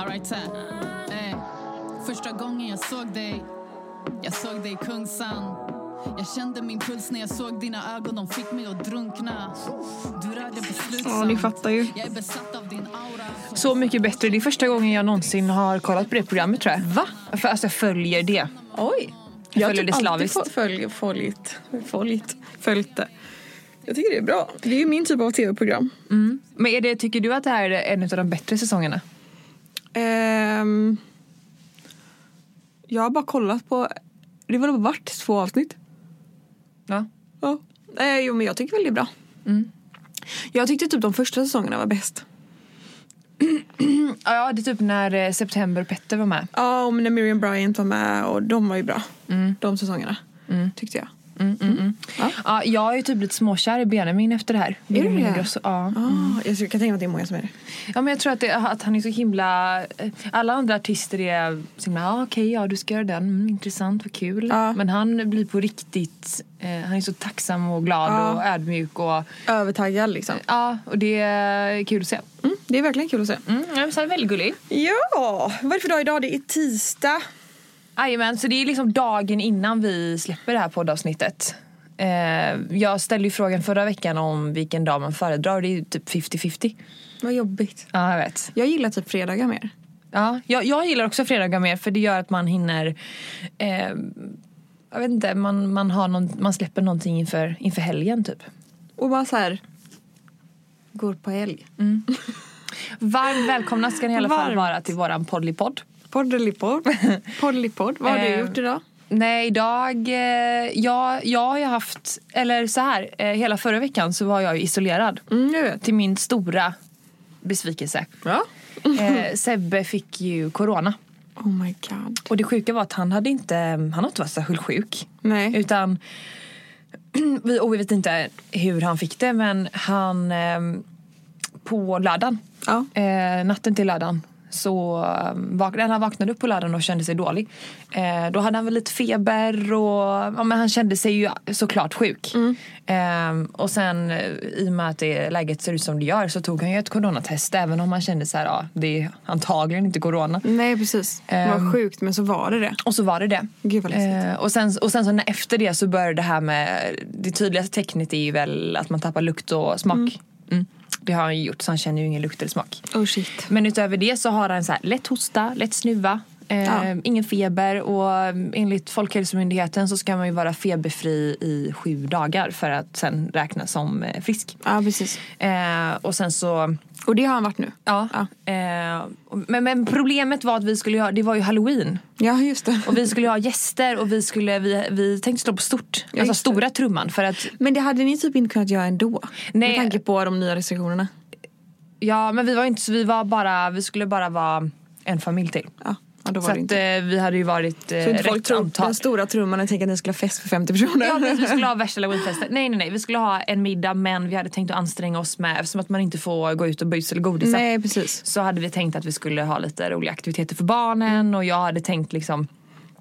exakt så här. Eh, Första gången jag såg dig, jag såg dig i Kungsan. Jag kände min puls när jag såg dina ögon, de fick mig att drunkna. Du rörde beslutsamt. Ja, ni fattar ju. Jag är besatt av din aura. Så mycket bättre. Det är första gången jag någonsin har kollat på det programmet tror jag. Va? För, alltså jag följer det. Oj. Jag Jag har följer typ det slaviskt. alltid följ, följt, följt, följt det. Jag tycker det är bra. Det är ju min typ av tv-program. Mm. Men är det, tycker du att det här är en av de bättre säsongerna? Ehm, jag har bara kollat på... Det var vart två avsnitt. Ja. Ja. Eh, jo, men jag tycker väl det är bra. Mm. Jag tyckte typ de första säsongerna var bäst. Ja, det är typ när eh, September Petter var med. Ja, och när Miriam Bryant var med och de var ju bra. De säsongerna. Tyckte jag. Mm, mm, mm. Ja. Ja, jag är typ lite småkär i Benjamin efter det här. du Benjamin det? Ingrosso, ja. Ah, Jag kan tänka mig att det är många som är det. ja, men jag tror att, det, att han är så himla... eh, Alla andra artister är så himla, ah, okej, ja du ska göra den, mm, intressant, vad kul. Ja. Men han blir på riktigt, eh, han är så tacksam och glad Ja. och ödmjuk och... Övertaggad liksom. Ja, och det är kul att se. Mm, det är verkligen kul att se. Mm, ja, men så han är väldigt gullig. Ja, vad är det för dag idag? Det är tisdag. Jajamän, så det är liksom dagen innan vi släpper det här poddavsnittet. Eh, jag ställde ju frågan förra veckan om vilken dag man föredrar. Det är ju typ 50-50. Vad jobbigt. Ja, jag vet. Jag gillar typ fredagar mer. Ja, jag, jag gillar också fredagar mer för det gör att man hinner... Eh, jag vet inte, man, man, har någon, man släpper någonting inför, inför helgen typ. Och bara så här... Går på helg. Varmt välkomna ska ni i alla fall Varmt. vara till våran poddlipodd. Poddelipodd. Poddelipodd. Vad har du Eh, gjort idag? Nej, idag... Eh, jag, jag har ju haft... Eller så här, eh, hela förra veckan så var jag ju isolerad. Mm, jag vet. Till min stora besvikelse. Ja. Eh, Sebbe fick ju corona. Oh my god. Och det sjuka var att han hade inte, han har inte varit särskilt sjuk. Nej. Utan, vi, och vi vet inte hur han fick det men han ehm, på lördagen, Ja. eh, natten till lördagen så ehm, vaknade, eller han vaknade upp på lördagen och kände sig dålig. Eh, då hade han väl lite feber och ja, men han kände sig ju såklart sjuk. Mm. Ehm, och sen eh, i och med att det, läget ser ut som det gör så tog han ju ett coronatest även om han kände så här, ja det är antagligen inte corona. Nej, precis. Det var Ehm. sjukt, men så var det det. Och så var det det. Gud, vad läskigt. Eh, och sen, och sen så när, efter det så började det här med... Det tydligaste tecknet är ju väl att man tappar lukt och smak. Mm. Det har han ju gjort så han känner ju ingen lukt eller smak. Oh shit. Men utöver det så har han så här, lätt hosta, lätt snuva, eh, Ja. ingen feber och mm, enligt Folkhälsomyndigheten så ska man ju vara feberfri i sju dagar för att sen räknas som eh, frisk. Ja, precis. Eh, och sen så Och det har han varit nu? Ja. Eh, men, men problemet var att vi skulle göra, det var ju halloween. Ja, just det. Och vi skulle ha gäster och vi, skulle, vi, vi tänkte slå på Ja, stort. alltså just det. stora trumman. För att, Men det hade ni typ inte kunnat göra ändå? Nej. Med tanke på de nya restriktionerna. ja, men vi var ju inte så, vi var bara, vi skulle bara vara en familj till. Ja, ja då var Så det att inte. eh, vi hade ju varit eh, Så inte folk rätt tror antal. den stora trumman och tänker att ni skulle ha fest för 50 personer. Ja, precis, vi skulle ha värsta halloweenfesten. Nej, nej, nej. Vi skulle ha en middag men vi hade tänkt att anstränga oss med, eftersom att man inte får gå ut och bus eller godisa. Nej, precis. så hade vi tänkt att vi skulle ha lite roliga aktiviteter för barnen och jag hade tänkt liksom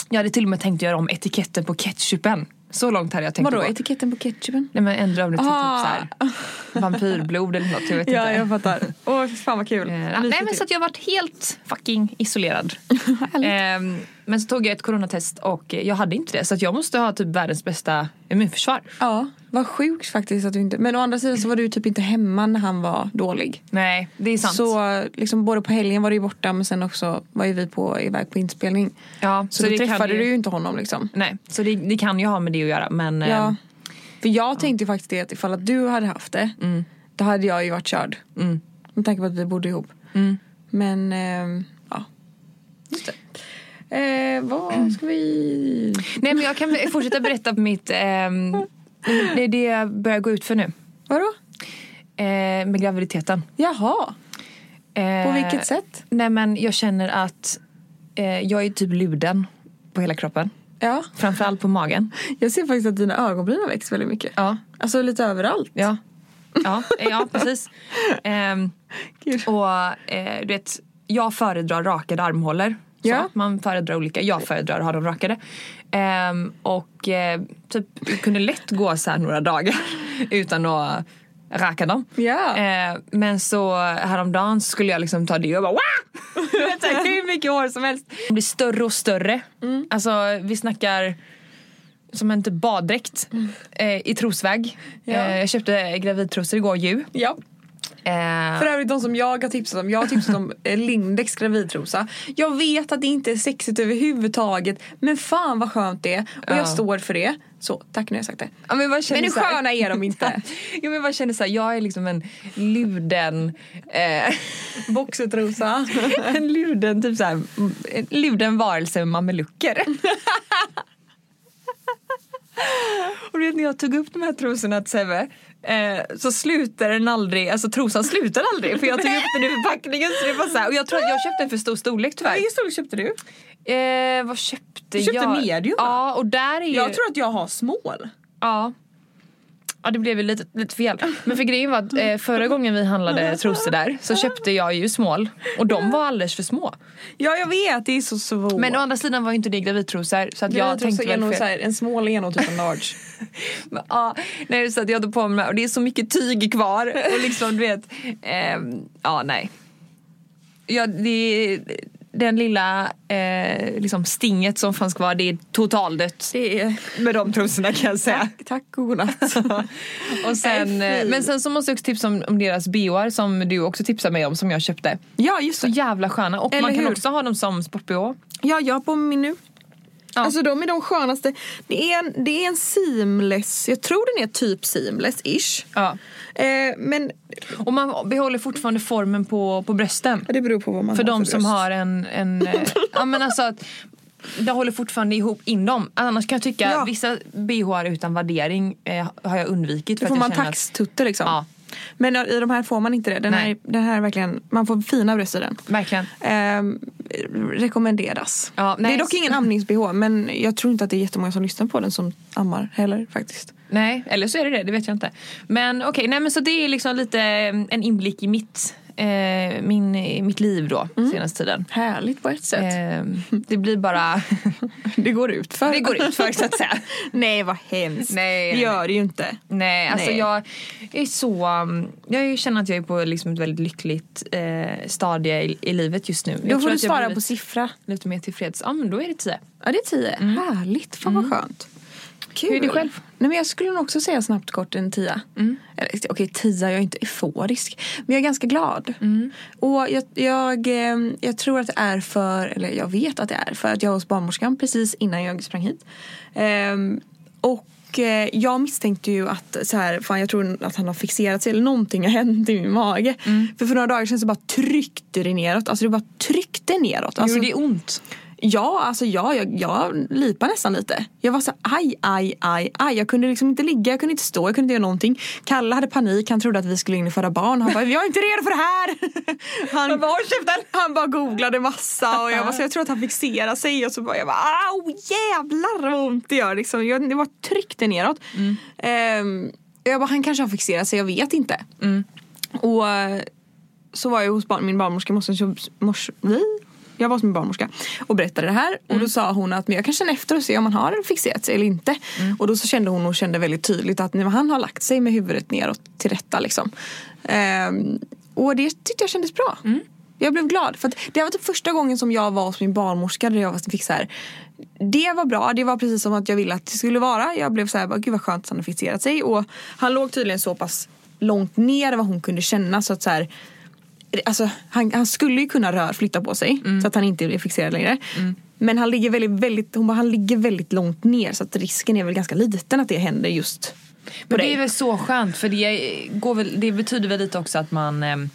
Jag hade till och med tänkt göra om etiketten på ketchupen. Så långt hade jag tänkt Vadå, gå. etiketten på ketchupen? Nej men ändra om det till Ah. typ så här, vampyrblod eller något. Jag vet Ja, inte. jag fattar. Åh, fy fan vad kul. typ. Eh, ja, Nej men så att jag har varit helt fucking isolerad. Ehm, men så tog jag ett coronatest och eh, jag hade inte det så att jag måste ha typ världens bästa immunförsvar. Ja, vad sjukt faktiskt att du inte... Men å andra sidan så var du typ inte hemma när han var dålig. Nej, det är sant. Så liksom både på helgen var du ju borta men sen också var ju vi på, iväg på inspelning. ja, Så, då det kan träffade ju- du ju inte honom liksom. Nej, så det, det kan ju ha med det att göra men Ja. ehm, För jag tänkte ju faktiskt det att ifall att du hade haft det då hade jag ju varit körd. Mm. Med tanke på att vi bodde ihop. Men ehm, ja, just det. Eh, vad ska vi... Nej men jag kan fortsätta berätta på mitt... ehm, det är det jag börjar gå ut för nu. Vadå? Eh, med graviditeten. Jaha, Eh, på vilket sätt? Nej men jag känner att eh, jag är typ luden på hela kroppen. Ja, Framförallt på magen. jag ser faktiskt att dina ögonbryn har växt väldigt mycket. Ja, Alltså lite överallt. ja. Ja, eh, ja precis. Ehm, Gud. och eh, du vet, jag föredrar rakade armhålor. Så Ja. Man föredrar olika. Jag föredrar att ha dem rakade. Ehm, och eh, typ, jag kunde lätt gå så här några dagar utan att raka dem. Ja. Eh, men så häromdagen så skulle jag liksom ta det och bara Wah! Du vet, så här, Hur mycket hår som helst. De blir större och större. Mm. Alltså vi snackar som en typ baddräkt eh, i trosväg. Mm. Ja. Eh, jag köpte gravidtrosor igår ju. ja. Eh, För övrigt de som jag har tipsat om, jag har tipsat om eh, Lindex gravidtrosa. Jag vet att det inte är sexigt överhuvudtaget men fan vad skönt det är och Ja. jag står för det. Så, tack nu har jag sagt det. Ja, men vad Men hur sköna är de inte? jo, men jag känner så här, jag är liksom en luden, eh, Boxertrosa. en luden typ så här, en luden varelse med mamelucker. Och du vet när jag tog upp de här trosorna till Sebbe eh, så slutar den aldrig, alltså trosan slutar aldrig för jag tog upp den i förpackningen så det var så här, och jag tror att jag köpte en för stor storlek tyvärr. Vilken storlek köpte du? Eh, vad köpte Du köpte jag? medium, va? Ja och där är ju... Jag tror att jag har small. Ja. Ja det blev ju lite, lite fel. Men för grejen var att eh, förra gången vi handlade trosor där så köpte jag ju small och de var alldeles för små. Ja jag vet, det är så svårt. Men å andra sidan var ju inte det gravidtrosor så att jag tänkte är väl nog fel. så här, en small är nog typ en large. Men, Ja, nej, så att jag tog på mig och det är så mycket tyg kvar och liksom du vet. ehm, ja nej. Ja, det, den lilla eh, liksom stinget som fanns kvar det är totaldött Det är... med de trosorna kan jag säga. Tack och godnatt. Och sen, eh, Nej, fy. men sen så måste jag också tipsa om, om deras bhar som du också tipsade mig om som jag köpte. ja just Så det. jävla sköna och man Eller kan hur? också ha dem som sport-bh. Ja jag har på mig nu. Alltså de är de skönaste. Det är, en, det är en seamless, jag tror den är typ seamless-ish. Ja. Eh, men Och man behåller fortfarande formen på, på brösten. det beror på vad man För de för som röst. har en... en eh, ja men alltså att det håller fortfarande ihop in dem. Annars kan jag tycka Ja. vissa bhar utan värdering eh, har jag undvikit. Då att får jag man känner att- taxtutte liksom. Ja. Men i de här får man inte det. Den Nej. här, den här är verkligen, man får fina bröst i den. Verkligen. Ehm, rekommenderas. Ja, det nej. är dock ingen amnings-bh men jag tror inte att det är jättemånga som lyssnar på den som ammar heller faktiskt. Nej, eller så är det det, det vet jag inte. Men okej, nej men så det är liksom lite eh, en inblick i mitt, eh, min, i mitt liv då, Mm. senaste tiden. Härligt på ett sätt. Eh, det blir bara... Det går ut för. det går ut för så att säga. nej vad hemskt. Nej, det nej. gör det ju inte. Nej, alltså Nej. Jag, jag är så... um, Jag känner att jag är på liksom ett väldigt lyckligt eh, stadie i, i livet just nu. Då jag får du att jag svara blir på lite, siffra. lite mer tillfreds. Ja, men då är det tio. Ja det är tio. Härligt, fan vad skönt. Kul. Mm. Hur är det själv? Mm. Nej, men jag skulle nog också säga snabbt kort en tia. Eller, Okej tia, jag är inte euforisk. Men jag är ganska glad. Mm. Och jag, jag, eh, jag tror att det är för, eller jag vet att det är för att jag var hos barnmorskan precis innan jag sprang hit. Ehm, och eh, jag misstänkte ju att så här, fan jag tror att han har fixerat sig eller någonting har hänt i min mage. Mm. För för några dagar sedan så bara tryckte det neråt. Alltså det bara tryckte neråt. Alltså, Gjorde det ont? Ja, alltså jag, jag, jag lipade nästan lite. Jag var så här, aj, aj, aj, aj. Jag kunde liksom inte ligga, jag kunde inte stå, jag kunde inte göra någonting. Kalle hade panik, han trodde att vi skulle införa barn. Han bara, jag är inte redo för det här! Han, han bara googlade massa och jag, var så, jag tror att han fixerade sig och så bara, jag bara, au jävlar vad ont det gör. Liksom. Jag, det var tryckte neråt. Ehm, jag bara, han kanske har fixerat sig, jag vet inte. Och eh, så var jag hos barn, min barnmorska i morse, så- mors, nej, jag var hos min barnmorska och berättade det här och då sa hon att men jag kan känna efter och se om han har fixerat sig eller inte. Och då så kände hon och kände väldigt tydligt att nej, men han har lagt sig med huvudet neråt till rätta liksom. Ehm, och det tyckte jag kändes bra. Jag blev glad för att det var typ första gången som jag var hos min barnmorska där jag fick så här det var bra, det var precis som att jag ville att det skulle vara. Jag blev så här, bara, gud vad skönt att han har fixerat sig. Och han låg tydligen så pass långt ner vad hon kunde känna så att så här, alltså, han, han skulle ju kunna rör, flytta på sig Mm. så att han inte blir fixerad längre. Men han ligger väldigt, väldigt, hon bara, han ligger väldigt långt ner så att risken är väl ganska liten att det händer just på Men dig. det är väl så skönt för det, går väl, det betyder väl lite också att man... ehm,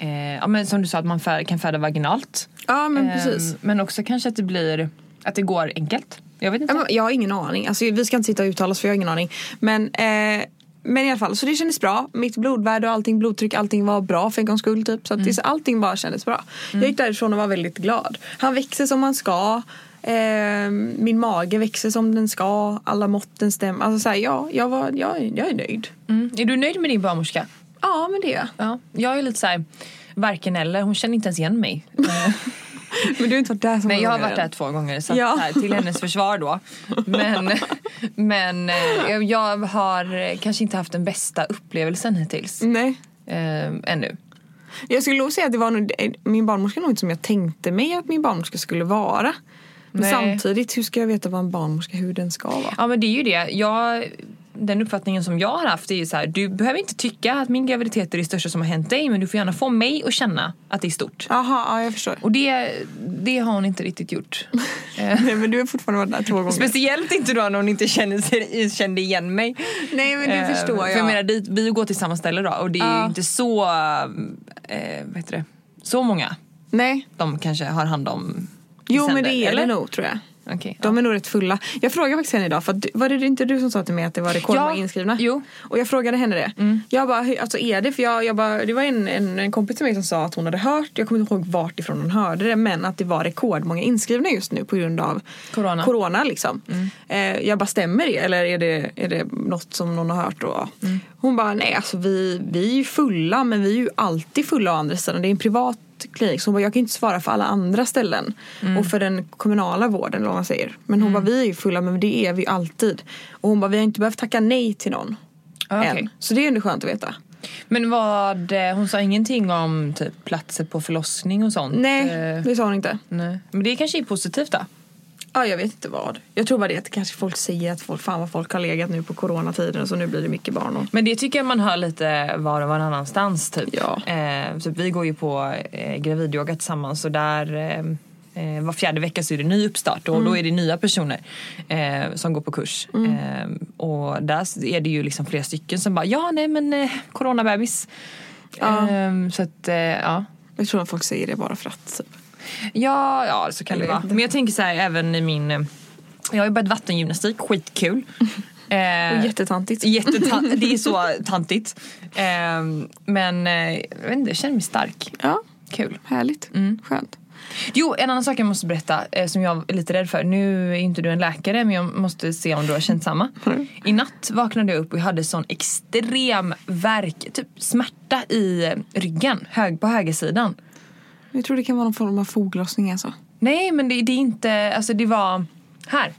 Eh, ja, men som du sa, att man fär, kan färda vaginalt. Ja men Ehm, precis. Men också kanske att det blir... Att det går enkelt. Jag vet inte. Ja, men Jag har ingen aning. Alltså, vi ska inte sitta och uttala oss för jag har ingen aning. Men, eh, men i alla fall, så det kändes bra. Mitt blodvärde och allting, blodtryck, allting var bra för en gångs skull. Typ. Så att, det- allting bara kändes bra. Jag gick därifrån och var väldigt glad. Han växer som han ska. Eh, min mage växer som den ska. Alla måtten stämmer. Alltså, så här, ja, jag, var, jag, är- jag är nöjd. Mm. Är du nöjd med din barnmorska? Ja, men det är jag. Ja, jag är lite så här, varken eller. Hon känner inte ens igen mig. Men du har inte varit där så Nej många jag har gånger varit där än. två gånger så, att, Ja. så här, till hennes försvar då. Men, men eh, jag- jag har eh, kanske inte haft den bästa upplevelsen hittills. Nej. Eh, ännu. Jag skulle nog säga att det var nog, eh, min barnmorska nog inte som jag tänkte mig att min barnmorska skulle vara. Men Nej. samtidigt, hur ska jag veta vad en barnmorska, hur den ska vara? Ja men det är ju det. Jag, den uppfattningen som jag har haft är ju så här, du behöver inte tycka att min graviditet är det största som har hänt dig men du får gärna få mig att känna att det är stort. Jaha, ja, jag förstår. Och det, det har hon inte riktigt gjort. Eh, Nej men du har fortfarande varit där två gånger. Speciellt inte då när hon inte kände, sig, kände igen mig. Nej men det Eh, förstår jag. För jag menar, dit, vi går till samma ställe då och det är ju Ja. inte så, eh, vad heter det, så många Nej. de kanske har hand om. i Jo men sänder, det är eller? det nog tror jag. Okej, De är nog rätt fulla. Jag frågade faktiskt henne idag, för att, du- var det inte du som sa till mig att det var rekordmånga Ja, inskrivna? jo. Mm. Och jag frågade henne det. Jag bara, hur- alltså är det? För jag, jag bara, det var en, en, en kompis till mig som sa att hon hade hört, jag kommer inte ihåg vart ifrån hon hörde det, men att det var rekordmånga inskrivna just nu på grund av Corona. corona liksom. Mm. Eh, jag bara, stämmer det? Eller är det, är det något som någon har hört? Och, Mm. Hon bara, nej alltså vi, vi är ju fulla, men vi är ju alltid fulla å andra sidan. Det är en privat klinik. Så hon bara, jag kan ju inte svara för alla andra ställen. Mm. Och för den kommunala vården eller vad man säger. Men hon bara, vi är ju fulla men det är vi ju alltid. Och hon bara, vi har inte behövt tacka nej till någon. Ja, Ah, okej. Än. Så det är ändå skönt att veta. Men vad, eh, hon sa ingenting om typ platser på förlossning och sånt? Nej, Eh, det sa hon inte. nej. Men det kanske är positivt då? Ja, jag vet inte vad. Jag tror bara det att kanske folk säger att folk, fan vad folk har legat nu på coronatiden så nu blir det mycket barn. Och... Men det tycker jag man hör lite var och varannanstans typ. Ja. Eh, typ vi går ju på eh, gravidyoga tillsammans och där eh, eh, var fjärde vecka så är det ny uppstart och Mm. då är det nya personer eh, som går på kurs. Eh, och där är det ju liksom flera stycken som bara ja nej men eh, coronabebis. Ja. Eh, så att eh, ja. Jag tror att folk säger det bara för att. Typ. Ja, ja så kan det Eller- vara. Men jag tänker så här även i min... eh, Jag har ju börjat vattengymnastik, skitkul. Eh, Och jättetantigt. jättetan- det är så tantigt. Eh, men eh, jag vet inte, jag känner mig stark. Ja, Kul. härligt. Skönt. Jo, en annan sak jag måste berätta eh, som jag är lite rädd för. Nu är ju inte du en läkare men jag måste se om du har känt samma. Mm. I natt vaknade jag upp och jag hade sån extrem värk, typ smärta i eh, ryggen, hög, på högersidan. Jag tror det kan vara någon form av foglossning alltså. Nej men det, det är inte, alltså det var här.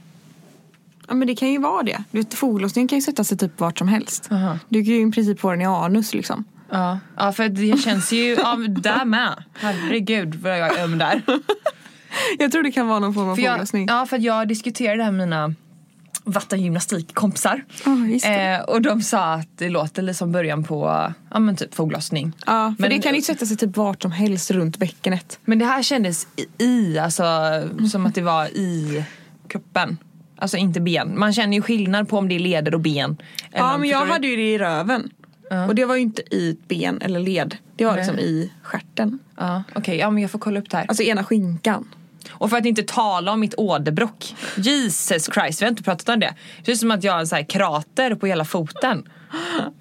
Ja men det kan ju vara det. Du vet, foglossningen kan ju sätta sig typ vart som helst. Aha. Du kan ju i princip få den i anus liksom. Ja, ja för det känns ju, ja men där med. Herregud vad jag är öm där. Jag tror det kan vara någon form av För jag, foglossning. ja för att jag diskuterade det här med mina vattengymnastikkompisar. Ja, just det. eh, och de sa att det låter lite som början på, ja men typ foglossning. Ja, för Men- det kan ju sätta sig typ vart som helst runt bäckenet. Men det här kändes i, i alltså som att det var i kroppen. Alltså inte ben. Man känner ju skillnad på om det är leder och ben. Eller Ja, om- men jag förstår du? hade ju det i röven. Och det var ju inte i ett ben eller led. Det var Nej. liksom i stjärten. Ja, Okej, ja men jag får kolla upp det här. Alltså ena skinkan. Och för att inte tala om mitt åderbråck. Jesus Christ, vi har inte pratat om det. Det ser ut som att jag har en så här krater på hela foten.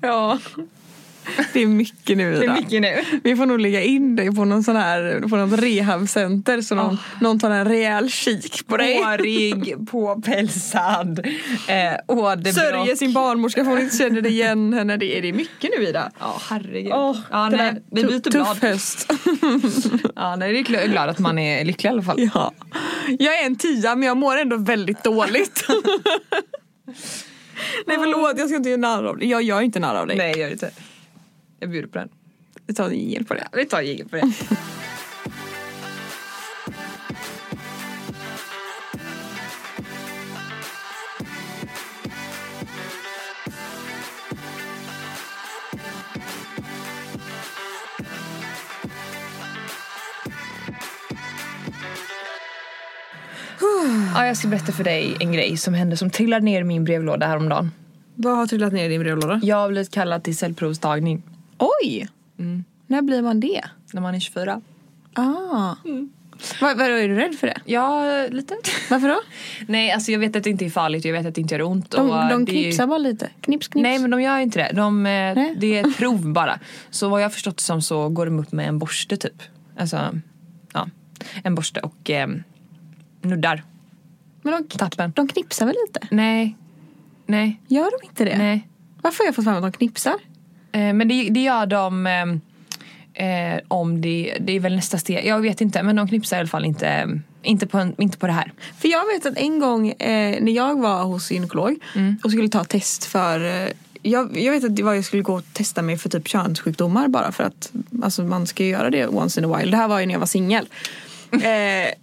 Ja. Det är mycket nu Ida. nu. Vi får nog lägga in dig på någon sån här på något rehabcenter så Ah. någon, någon tar en rejäl kik på dig. Hårig, påpälsad, eh, åderbråck. Sörjer sin barnmorska för hon inte känner det igen henne. Det är, det är mycket nu Ida. Ja, herregud. Åh, ja, det nej, där, vi tu- byter tuff blad. höst. Ja, nej, det är kl- glad att man är lycklig i alla fall. Ja. Jag är en tia men jag mår ändå väldigt dåligt. Nej förlåt jag ska inte göra narr av dig. Jag gör inte narr av dig. Nej, gör inte. Jag bjuder på den. Vi tar en jingel på det. Vi tar jingel på det. Ja, jag ska berätta för dig en grej som hände som trillade ner i min brevlåda häromdagen. Vad har trillat ner i din brevlåda? Jag har blivit kallad till cellprovstagning Oj! När blir man det? när man är 24. Ah. Mm. Vad, vad är du rädd för det? Ja, lite. Varför då? Nej, alltså jag vet att det inte är farligt jag vet att det inte gör ont. De, och de det är ju- knipsar bara lite. Knips, knips. Nej, men de gör inte det. De, eh, Nej. det är ett prov bara. Så vad jag har förstått det som så går de upp med en borste typ. Alltså, ja. En borste och eh, nuddar Men de, kn- tappen. de knipsar väl lite? Nej. Nej. Gör de inte det? Nej. Varför har jag fått för mig att de knipsar? Eh, men det, det gör de... ehm, Eh, om det, det är väl nästa steg, jag vet inte men de knipsar i alla fall inte, inte, på, en, inte på det här. För jag vet att en gång eh, när jag var hos gynekolog Mm. och skulle ta test för eh, jag, jag vet att det var jag skulle gå och testa mig för typ könssjukdomar bara för att alltså, man ska ju göra det once in a while. Det här var ju när jag var singel. Eh,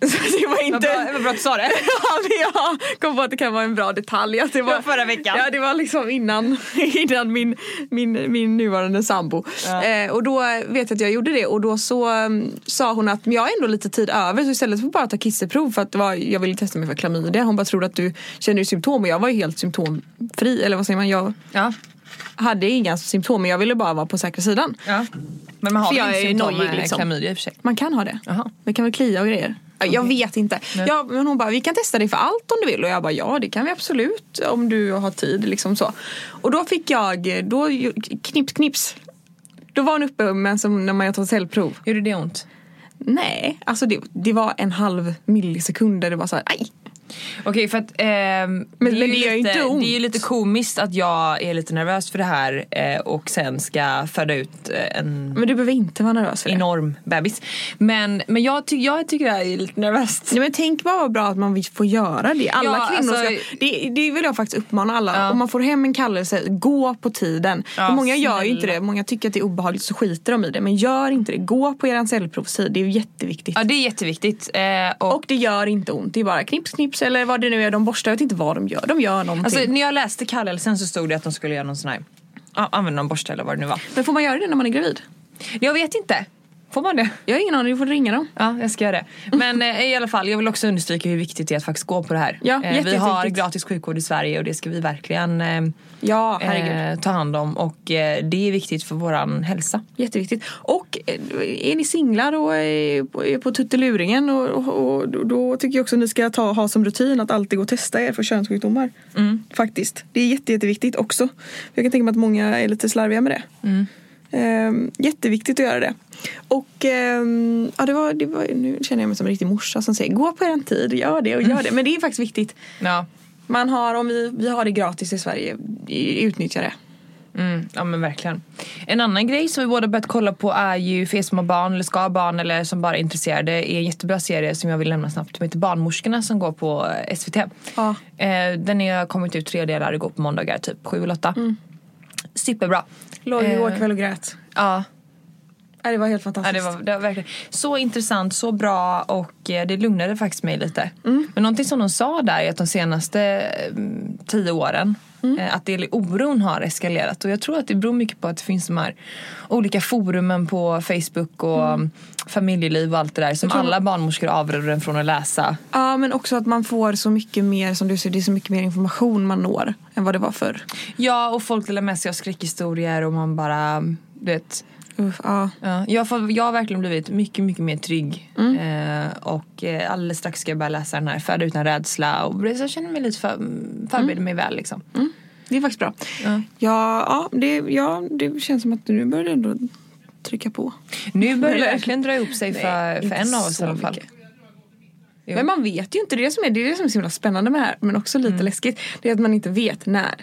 så det var inte... bra att du sa det. Ja, men jag kom på att det kan vara en bra detalj. Att det var, var förra veckan. Ja, det var liksom innan, innan min, min, min nuvarande sambo. Ja. Eh, och då vet jag att jag gjorde det och då så mm, sa hon att men jag har ändå lite tid över så istället för att bara ta kisseprov för att det var, jag ville testa mig för klamydia. Hon bara tror du att du känner ju symptom och jag var ju helt symptomfri. Eller vad säger man? Jag Ja, hade inga symptom men jag ville bara vara på säkra sidan. ja. Men man har För väl jag är inga ju symptom nojig, med liksom. klamydia i och för sig. Man kan ha det. Jaha. Det kan väl klia och grejer. Ja, Jag vet inte. Nej. Ja, men hon bara, vi kan testa dig för allt om du vill. Och jag bara, ja det kan vi absolut om du har tid. Liksom så. Och då fick jag, då ju- knips knips. Då var hon uppe men som när man gör ett cellprov. Gjorde det ont? Nej, alltså det, det var en halv millisekund där det var så här, aj. Okej för att ehm, Men- men det, det är gör ju ju lite, inte ont. det är ju lite komiskt att jag är lite nervös för det här eh, och sen ska föda ut eh, en Men du behöver inte vara nervös för det. enorm bebis. Men, men jag, ty- jag tycker det här är lite nervöst. Nej, men tänk bara vad bra att man vill- får göra det. Alla Ja, kvinnor alltså- ska, det, det vill jag faktiskt uppmana alla. Ja. Om man får hem en kallelse, gå på tiden. Ja, För många gör ju inte snälla. det. Många tycker att det är obehagligt så skiter de i det. Men gör inte det. Gå på er cellprovstid. Det är jätteviktigt. Ja det är jätteviktigt. Eh, och, Och det gör inte ont. Det är bara knips knips eller vad det nu är. De borstar. Jag vet inte vad de gör. De gör någonting. alltså, när jag läste kallelsen så stod det att de skulle göra någon sån här, ja, använda någon borste eller vad det nu var. men får man göra det när man är gravid? Jag vet inte. Får man det? Jag har ingen aning. Du får ringa dem. Ja, jag ska göra det. Men eh, i alla fall, jag vill också understryka hur viktigt det är att faktiskt gå på det här. Eh, Ja, vi jätteviktigt. har gratis sjukvård i Sverige och det ska vi verkligen eh, Ja, herregud. eh, ta hand om och eh, det är viktigt för våran hälsa. Jätteviktigt. Och eh, är ni singlar och är på- är på tutteluringen och, och, och då- då tycker jag också att ni ska ta, ha som rutin att alltid gå och testa er för könssjukdomar. Mm. Faktiskt. Det är jätte, jätteviktigt också. Jag kan tänka mig att många är lite slarviga med det. Mm. Ehm, jätteviktigt att göra det. Och ehm, ja, det var, det var, nu känner jag mig som en riktig morsa som säger gå på er tid, gör det och Mm. gör det. Men det är faktiskt viktigt. Ja, Man har, om vi, vi har det gratis i Sverige, utnyttja det. mm, ja men verkligen. En annan grej som vi båda börjat kolla på är ju för er som har barn eller ska ha barn eller som bara är intresserade är en jättebra serie som jag vill nämna snabbt som heter Barnmorskorna som går på eh, SVT. Ja. Eh, den har kommit ut tre delar och går på måndagar typ 7 eller 8. Mm. Superbra. Låg ju Eh, igår kväll och grät. Ja, Ja, det var helt fantastiskt. Ja, det, var, det var verkligen så intressant, så bra och eh, det lugnade faktiskt mig lite. Men någonting som de sa där är att de senaste mm, tio åren eh, att det, oron har eskalerat och jag tror att det beror mycket på att det finns de här olika forumen på Facebook och mm. familjeliv och allt det där som alla barnmorskor avråder en från att läsa. Ja men också att man får så mycket mer som du säger, det är så mycket mer information man når än vad det var förr. Ja, och folk delar med sig av skräckhistorier och man bara, mm, du vet, Uff, ja. Ja, jag, får, jag har verkligen blivit mycket, mycket mer trygg. Mm. Eh, och eh, alldeles strax ska jag börja läsa den här Föda utan rädsla. Och så jag känner mig lite för, förbereder Mm. mig väl liksom. Det är faktiskt bra. Ja. Ja, ja, det, ja det känns som att nu börjar det ändå trycka på. Nu börjar det Eller- verkligen dra ihop sig Nej, för, för inte en av oss i så alla fall. mycket. Men man vet ju inte, det är det som är, det är, det som är så himla spännande med det här men också lite läskigt. Det är att man inte vet när.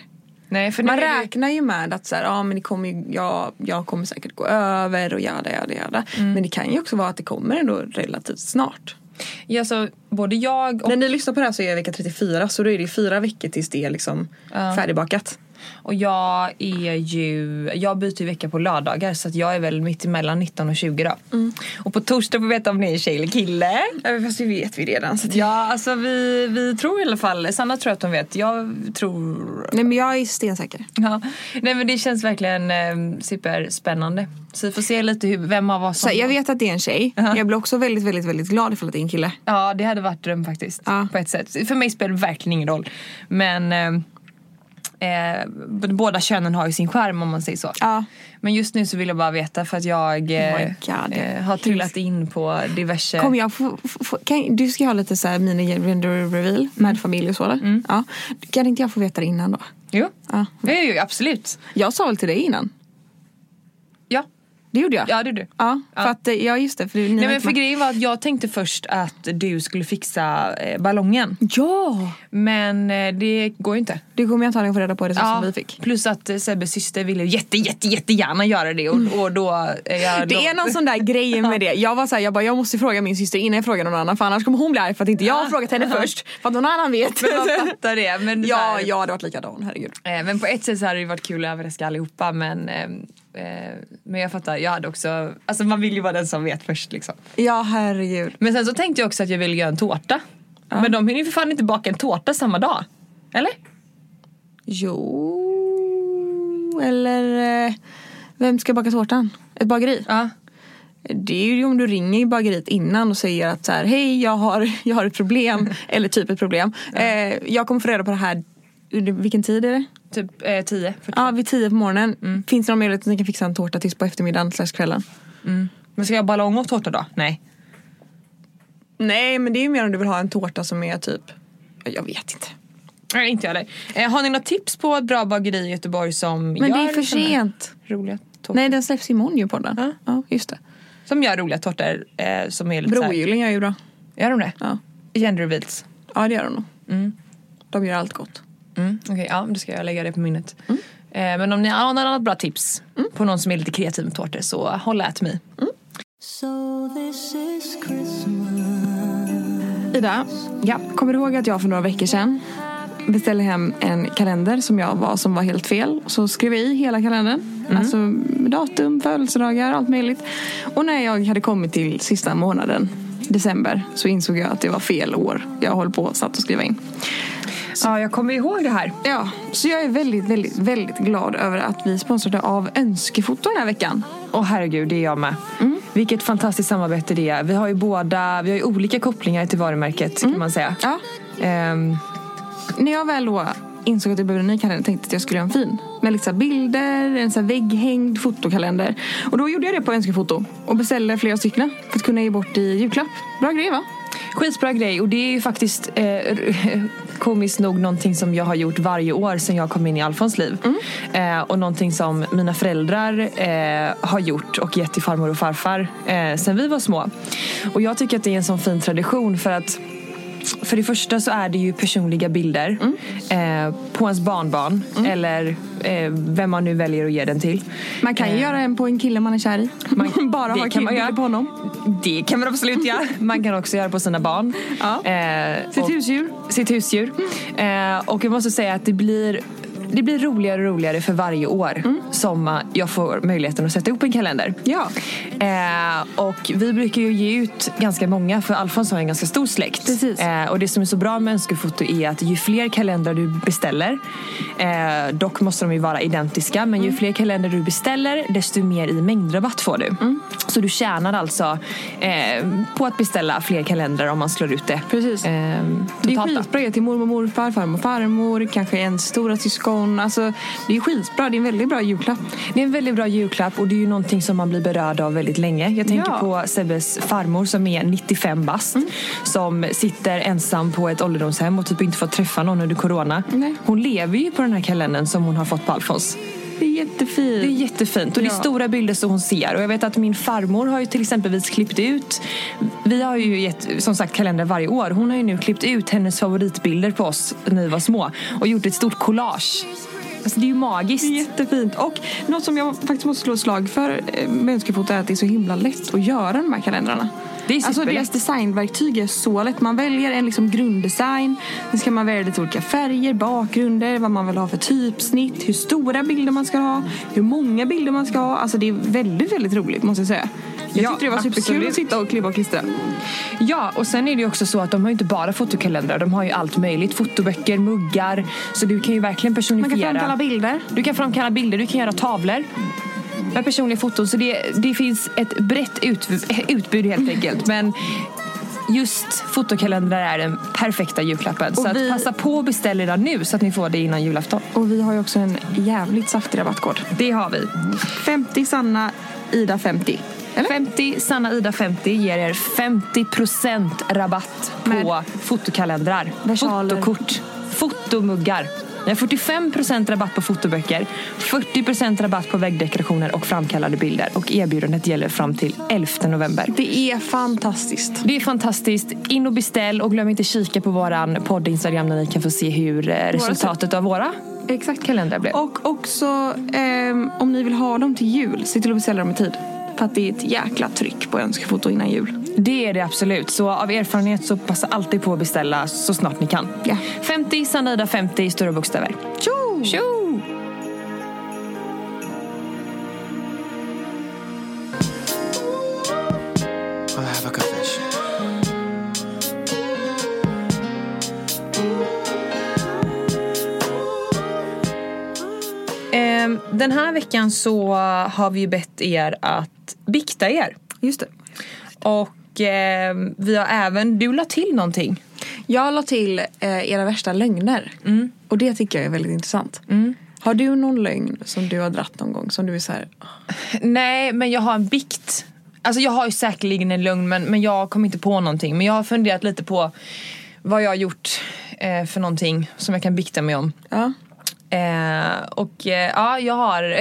Nej, Mm. för nu Man är det- räknar ju med att så här, ja, men det kommer ju, ja, jag kommer säkert gå över och jada jada jada. Mm. Men det kan ju också vara att det kommer ändå relativt snart. ja, så både jag och, När ni lyssnar på det här så är det vecka 34 så då är det fyra veckor tills det är liksom färdigbakat. och jag är ju... Jag byter ju vecka på lördagar så att jag är väl mitt emellan 19 och 20 då. Mm. Och på torsdag får vi veta om ni är tjej eller kille. Ja, fast det vet vi redan. Så att... Ja, alltså vi, vi tror i alla fall. Sanna tror att hon vet. Jag tror Nej men jag är stensäker. Ja. Nej men det känns verkligen eh, superspännande. Så vi får se lite hur, vem av oss Så som... här, jag vet att det är en tjej. Ja. Jag blir också väldigt, väldigt, väldigt glad ifall att det är en kille. Ja det hade varit dröm faktiskt. Ja. På ett sätt. För mig spelar det verkligen ingen roll. Men eh, eh, båda könen har ju sin skärm om man säger så. Ja. Men just nu så vill jag bara veta för att jag eh, Oh my God. eh, har trillat in på diverse... Kommer jag få, få, få, kan, du ska ju ha lite så här mini gender reveal med familj och sådär. Ja. Kan inte jag få veta det innan då? Jo. Ja. Jo, jo, absolut. Jag sa väl till dig innan? Ja. Det gjorde jag. Ja, det är du. Ja, för Ja. att, eh, ja just det. För, ni Nej, var men inte för med. grejen var att jag tänkte först att du skulle fixa eh, ballongen. ja! Men eh, det går ju inte. Det kommer jag antagligen få reda på det ja. Alltså, som vi fick. Plus att eh, Sebbes syster ville jätte, jätte, jättegärna göra det. Och, och då, eh, jag Det är lov- någon sån där grej med det. Jag var så här, jag bara jag måste fråga min syster innan jag frågar någon annan för annars kommer hon bli arg för att inte jag har frågat henne först. För att någon annan vet. Men man fattar det. Men, så ja, här, jag hade varit likadan, herregud. eh, men på ett sätt så hade det varit kul att överraska allihopa. Men, eh, eh, men jag fattar, jag hade också... Alltså man vill ju vara den som vet först liksom. Ja, herregud. Men sen så tänkte jag också att jag ville göra en tårta. Men de hinner ju för fan inte baka en tårta samma dag. Eller? Jo, eller eh, vem ska baka tårtan? Ett bageri? Ja. Det är ju om du ringer i bageriet innan och säger att så här, hej jag har, jag har ett problem, eller typ ett problem. Eh, jag kommer få reda på det här, under- vilken tid är det? Typ eh, 10. Ja, vid tio på morgonen. Finns det någon möjlighet att ni kan fixa en tårta tills på eftermiddagen slash kvällen? Men ska jag ha ballong och tårta då? Nej. Nej, men det är ju mer om du vill ha en tårta som är typ, jag vet inte. Nej, inte jag heller. Eh, har ni något tips på ett bra bageri i Göteborg som Men gör det är för såna här sent. Roliga tårtor? Nej, den släpps imorgon ju podden. Ja, just det. Som gör roliga tårtor eh, som är lite så här- Brohjulingar är ju bra. Gör de det? Ja. Genderreveals? ja, det gör de nog. De gör allt gott. Mm. Okej, ja, då ska jag lägga det på minnet. Eh, men om ni har något annat bra tips på någon som är lite kreativ med tårtor så håll at mig. So this is Christmas. Ida, ja. kommer du ihåg att jag för några veckor sedan beställde hem en kalender som jag var som var helt fel. Så skrev jag i hela kalendern. Alltså datum, födelsedagar, allt möjligt. Och när jag hade kommit till sista månaden, december, så insåg jag att det var fel år jag höll på och satt och skriva in. Ja, jag kommer ihåg det här. Ja, så jag är väldigt, väldigt, väldigt glad över att vi sponsrade av Önskefoto den här veckan. Åh herregud, det är jag med. Vilket fantastiskt samarbete det är. Vi har ju båda, vi har ju olika kopplingar till varumärket kan man säga. Ja. Ehm, När jag väl då insåg att jag behövde en ny kalender tänkte jag att jag skulle göra en fin. Med lite så här bilder, en så här vägghängd fotokalender. Och då gjorde jag det på önskefoto och beställde flera stycken för att kunna ge bort i julklapp. Bra grej va? Skitbra grej och det är ju faktiskt eh, r- komiskt nog någonting som jag har gjort varje år sedan jag kom in i Alfons liv. Eh, och någonting som mina föräldrar eh, har gjort och gett till farmor och farfar eh, sedan vi var små. Och jag tycker att det är en sån fin tradition för att för det första så är det ju personliga bilder eh, på ens barnbarn eller eh, vem man nu väljer att ge den till. Man kan ju göra en på en kille man är kär i. Eh. Man- Bara ha det kan man killbilder göra. på honom. Det kan man absolut göra. Man kan också göra på sina barn. Ja. Eh, Sitt och- husdjur. Sitt husdjur. Eh, och jag måste säga att det blir det blir roligare och roligare för varje år som eh, jag får möjligheten att sätta ihop en kalender. Mm. Ja. Eh, och vi brukar ju ge ut ganska många för Alfons har en ganska stor släkt. Precis. Eh, och det som är så bra med önskefoto är att ju fler kalendrar du beställer, eh, dock måste de ju vara identiska, men Mm. ju fler kalendrar du beställer desto mer i mängdrabatt får du. Mm. Så du tjänar alltså eh, på att beställa fler kalendrar om man slår ut det Precis. eh, Det är totalt. då. skitbra att ge till mormor, morfar, farmor, farmor, kanske en stora syskon. Alltså, det är skitbra, det är en väldigt bra julklapp. Det är en väldigt bra julklapp och det är ju någonting som man blir berörd av väldigt länge. Jag tänker Ja. Mm. på Sebbes farmor som är 95 bast. Som sitter ensam på ett ålderdomshem och typ inte får träffa någon under corona. Nej. Hon lever ju på den här kalendern som hon har fått på Alfons. Det är jättefint. Det är jättefint och det är Ja. stora bilder som hon ser. Och jag vet att min farmor har ju till exempelvis klippt ut, vi har ju gett som sagt kalender varje år, hon har ju nu klippt ut hennes favoritbilder på oss när vi var små och gjort ett stort collage. Alltså det är ju magiskt. Det är Jättefint. Och något som jag faktiskt måste slå ett slag för eh, med önskefoto är att det är så himla lätt att göra de här kalendrarna. Det är alltså superlätt. deras designverktyg är så lätt. Man väljer en liksom grunddesign. Sen ska man välja lite olika färger, bakgrunder, vad man vill ha för typsnitt, hur stora bilder man ska ha, hur många bilder man ska ha. Alltså det är väldigt, väldigt roligt måste jag säga. Jag Ja, tyckte det var superkul absolut. att sitta och klibba och klistra. Ja, och sen är det ju också så att de har ju inte bara fotokalendrar. De har ju allt möjligt. Fotoböcker, muggar. Så du kan ju verkligen Man kan personifiera. framkalla bilder. Du kan framkalla bilder, du kan göra tavlor med personliga foton. Så det, det finns ett brett utbud, utbud helt enkelt. Men just fotokalendrar är den perfekta julklappen. Och så vi- att passa på att beställa redan nu så att ni får det innan julafton. Och vi har ju också en jävligt saftig rabattkod. Det har vi. 50 Sanna, Ida 50. Eller? 50 Sanna Ida 50 ger er 50% rabatt på Med- fotokalendrar, Versaler. fotokort, fotomuggar. Det är 45% rabatt på fotoböcker, 40% rabatt på väggdekorationer och framkallade bilder. Och erbjudandet gäller fram till 11 november. Det är fantastiskt. Det är fantastiskt. In och beställ och glöm inte kika på våran podd Instagram där ni kan få se hur eh, resultatet av våra exakt kalendrar blev. Och också ehm, om ni vill ha dem till jul, se till att beställa dem i tid. För att det är ett jäkla tryck på önskefoto innan jul. Det är det absolut. Så av erfarenhet så passa alltid på att beställa så snart ni kan. Ja. 50 Sanida 50 i stora bokstäver. Tjo! Tjo! I have a confession. Ehm, Den här veckan så har vi ju bett er att bikta er. Just det. Och ehm, vi har även, du la till någonting. Jag la till eh, era värsta lögner. Och det tycker jag är väldigt intressant. Har du någon lögn som du har dratt någon gång som du är så här, Nej, men jag har en bikt. Alltså jag har ju säkerligen en lögn men, men jag kom inte på någonting. Men jag har funderat lite på vad jag har gjort eh, för någonting som jag kan bikta mig om. ja. Eh, och eh, ja, jag har,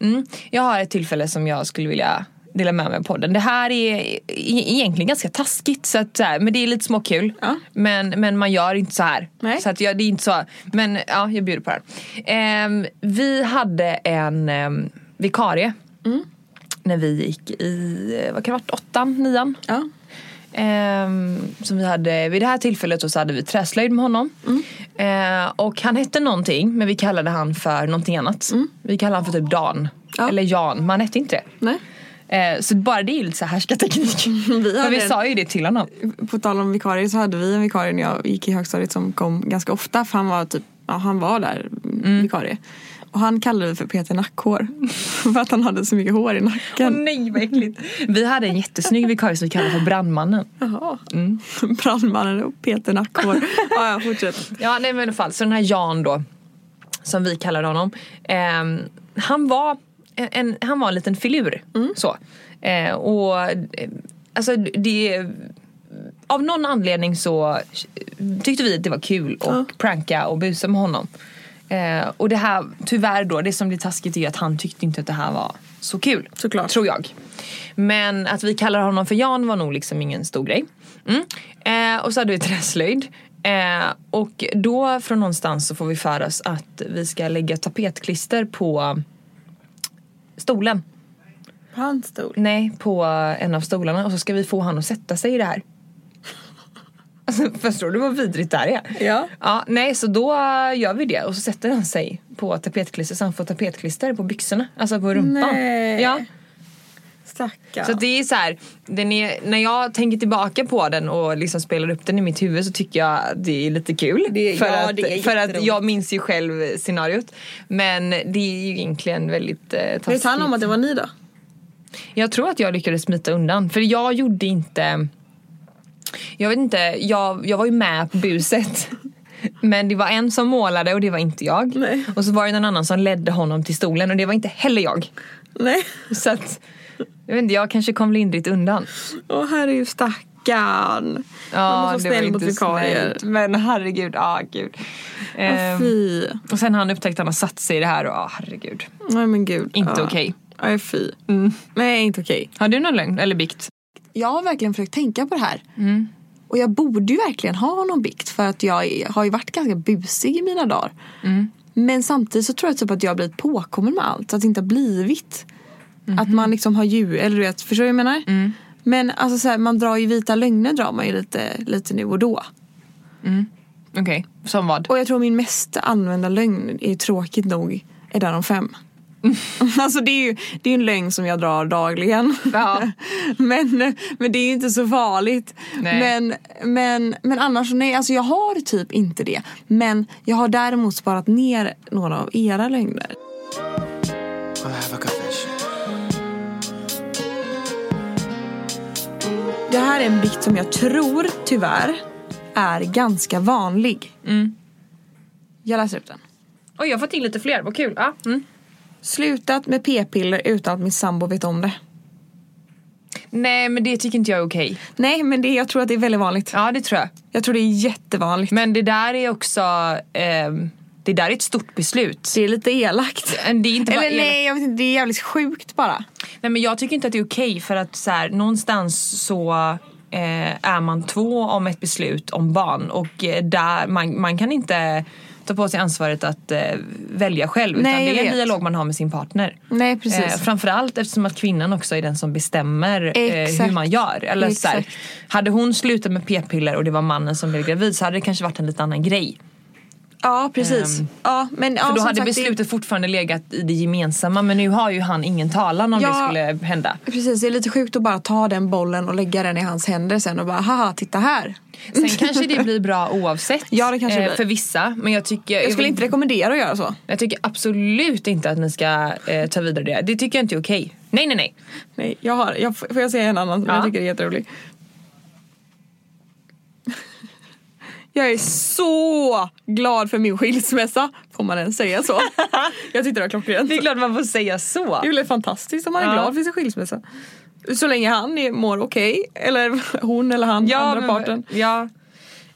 mm, jag har ett tillfälle som jag skulle vilja dela med mig av podden. Det här är e- egentligen ganska taskigt, så att, så här, men det är lite småkul. Ja. Men, men man gör inte så här. Nej. Så att jag, det är inte så. Men ja, jag bjuder på det här. Ehm, vi hade en um, vikarie Mm. när vi gick i, eh, vad kan det ha varit, åttan, nian? ja. Ehm, som vi hade, vid det här tillfället så hade vi träslöjd med honom. Mm. Eh, och han hette någonting men vi kallade han för någonting annat. Vi kallade han för typ Dan. Mm. Ja. Eller Jan, men han hette inte det. Nej. Eh, så bara det är ju lite så här härskarteknik. Vi Men hade vi en- sa ju det till honom. På tal om vikarier så hade vi en vikarie när jag gick i högstadiet som kom ganska ofta för han var typ, ja han var där vikarie. Och han kallade vi för Peter Nackhår. för att han hade så mycket hår i Åh nacken. nej vad äckligt. Vi hade en jättesnygg vikarie som vi kallade för Brandmannen. Jaha. Brandmannen och Peter Nackhår. ja, ja, fortsätt. Ja, nej men i alla fall. Så den här Jan då, som vi kallade honom. ehm, han, var en, en, han var en liten filur. Så. Eh, och eh, alltså det... Av någon anledning så tyckte vi att det var kul att pranka och busa med honom. Eh, och det här, tyvärr då, det som blir taskigt är att han tyckte inte att det här var så kul. Såklart. Tror jag. Men att vi kallar honom för Jan var nog liksom ingen stor grej. Mm. Eh, och så hade vi träslöjd. Eh, och då från någonstans så får vi för oss att vi ska lägga tapetklister på stolen. Hans stol. Nej, på en av stolarna och så ska vi få han att sätta sig i det här. Alltså, förstår du vad vidrigt det här är? Ja. ja. Nej, så då gör vi det och så sätter han sig på tapetklister så han får tapetklister på byxorna, alltså på rumpan. Nej. Ja. Stackarn. Så att det är så här, den är, när jag tänker tillbaka på den och liksom spelar upp den i mitt huvud så tycker jag att det är lite kul. Det- för ja, att, det är för att jätteroligt. jag minns ju själv scenariot. Men det är ju egentligen väldigt eh, taskigt. Vet han om att det var Mm. ni då? Jag tror att jag lyckades smita undan. För jag gjorde inte... Jag vet inte, jag, jag var ju med på buset. Men det var en som målade och det var inte jag. Nej. Och så var det någon annan som ledde honom till stolen och det var inte heller jag. Nej. Så att, jag vet inte, jag kanske kom lindrigt undan. Åh här är ju stackarn. Man måste vara Ja, det var snäll inte mot vikarier. snällt. Men herregud, ja gud. Åh, Ehm, Fy. och sen har han upptäckt att han har satt sig i det här och ja, herregud. Nej men gud. Inte ja. okej. Mm. Nej fy. Nej inte okej. Har du någon lögn eller bikt? jag har verkligen försökt tänka på det här. Och jag borde ju verkligen ha någon bikt för att jag är- har ju varit ganska busig i mina dagar. Men samtidigt så tror jag typ att jag har blivit påkommen med allt. Så att det inte har blivit. Att man liksom har djur, eller du vet, förstår du vad jag menar? Men alltså så här, man drar ju vita lögner drar man ju lite, lite nu och då. Okej, som vad? Och jag tror min mest använda lögn är tråkigt nog är där om fem. alltså det är ju det är ju en lögn som jag drar dagligen. Ja. men, men det är ju inte så farligt. Nej. Men, men, men annars, nej, alltså jag har typ inte det. Men jag har däremot sparat ner några av era lögner. I have a confession. Det här är en bikt som jag tror, tyvärr, är ganska vanlig. Mm. Jag läser upp den. Oj, jag har fått in lite fler, vad kul. Ja. Mm. Slutat med p-piller utan att min sambo vet om det. Nej, men det tycker inte jag är okej. Nej, men det, jag tror att det är väldigt vanligt. Ja, det tror jag. Jag tror det är jättevanligt. Men det där är också... ehm, Det där är ett stort beslut. Det är lite elakt. Men Det är inte bara Eller elakt. nej, jag vet inte, det är jävligt sjukt bara. Nej men jag tycker inte att det är okej för att så här, någonstans så eh, är man två om ett beslut om barn och eh, där man, man kan inte ta på sig ansvaret att eh, välja själv utan Nej, jag det är en vet. dialog man har med sin partner. Eh, Nej, precis. framförallt eftersom att kvinnan också är den som bestämmer eh, hur Exakt. man gör. Eller, så här, Exakt. hade hon slutat med p-piller och det var mannen som blev gravid så hade det kanske varit en lite annan grej. Ja, precis. Ehm, ja, men, ja, För då som hade sagt, det- beslutet fortfarande legat i det gemensamma men nu har ju han ingen talan om Ja. det skulle hända. Precis, det är lite sjukt att bara ta den bollen och lägga den i hans händer sen och bara haha, titta här. Sen kanske det blir bra oavsett eh, Ja, det kanske det blir. för vissa. Men jag tycker, Jag skulle inte rekommendera att göra så. jag tycker absolut inte att ni ska eh, ta vidare det. Det tycker jag inte är okej. Nej, nej, nej. Nej, jag har, jag, får jag säga en annan som Ja. jag tycker är jätterolig? Jag är så glad för min skilsmässa, får man ens säga så? Jag tyckte det var klockrent. Det är klart man får säga så. Det är väl fantastiskt om man är Ja. glad för sin skilsmässa. Så länge han är, mår okej, eller hon eller han, andra men- parten. Mm. Ja.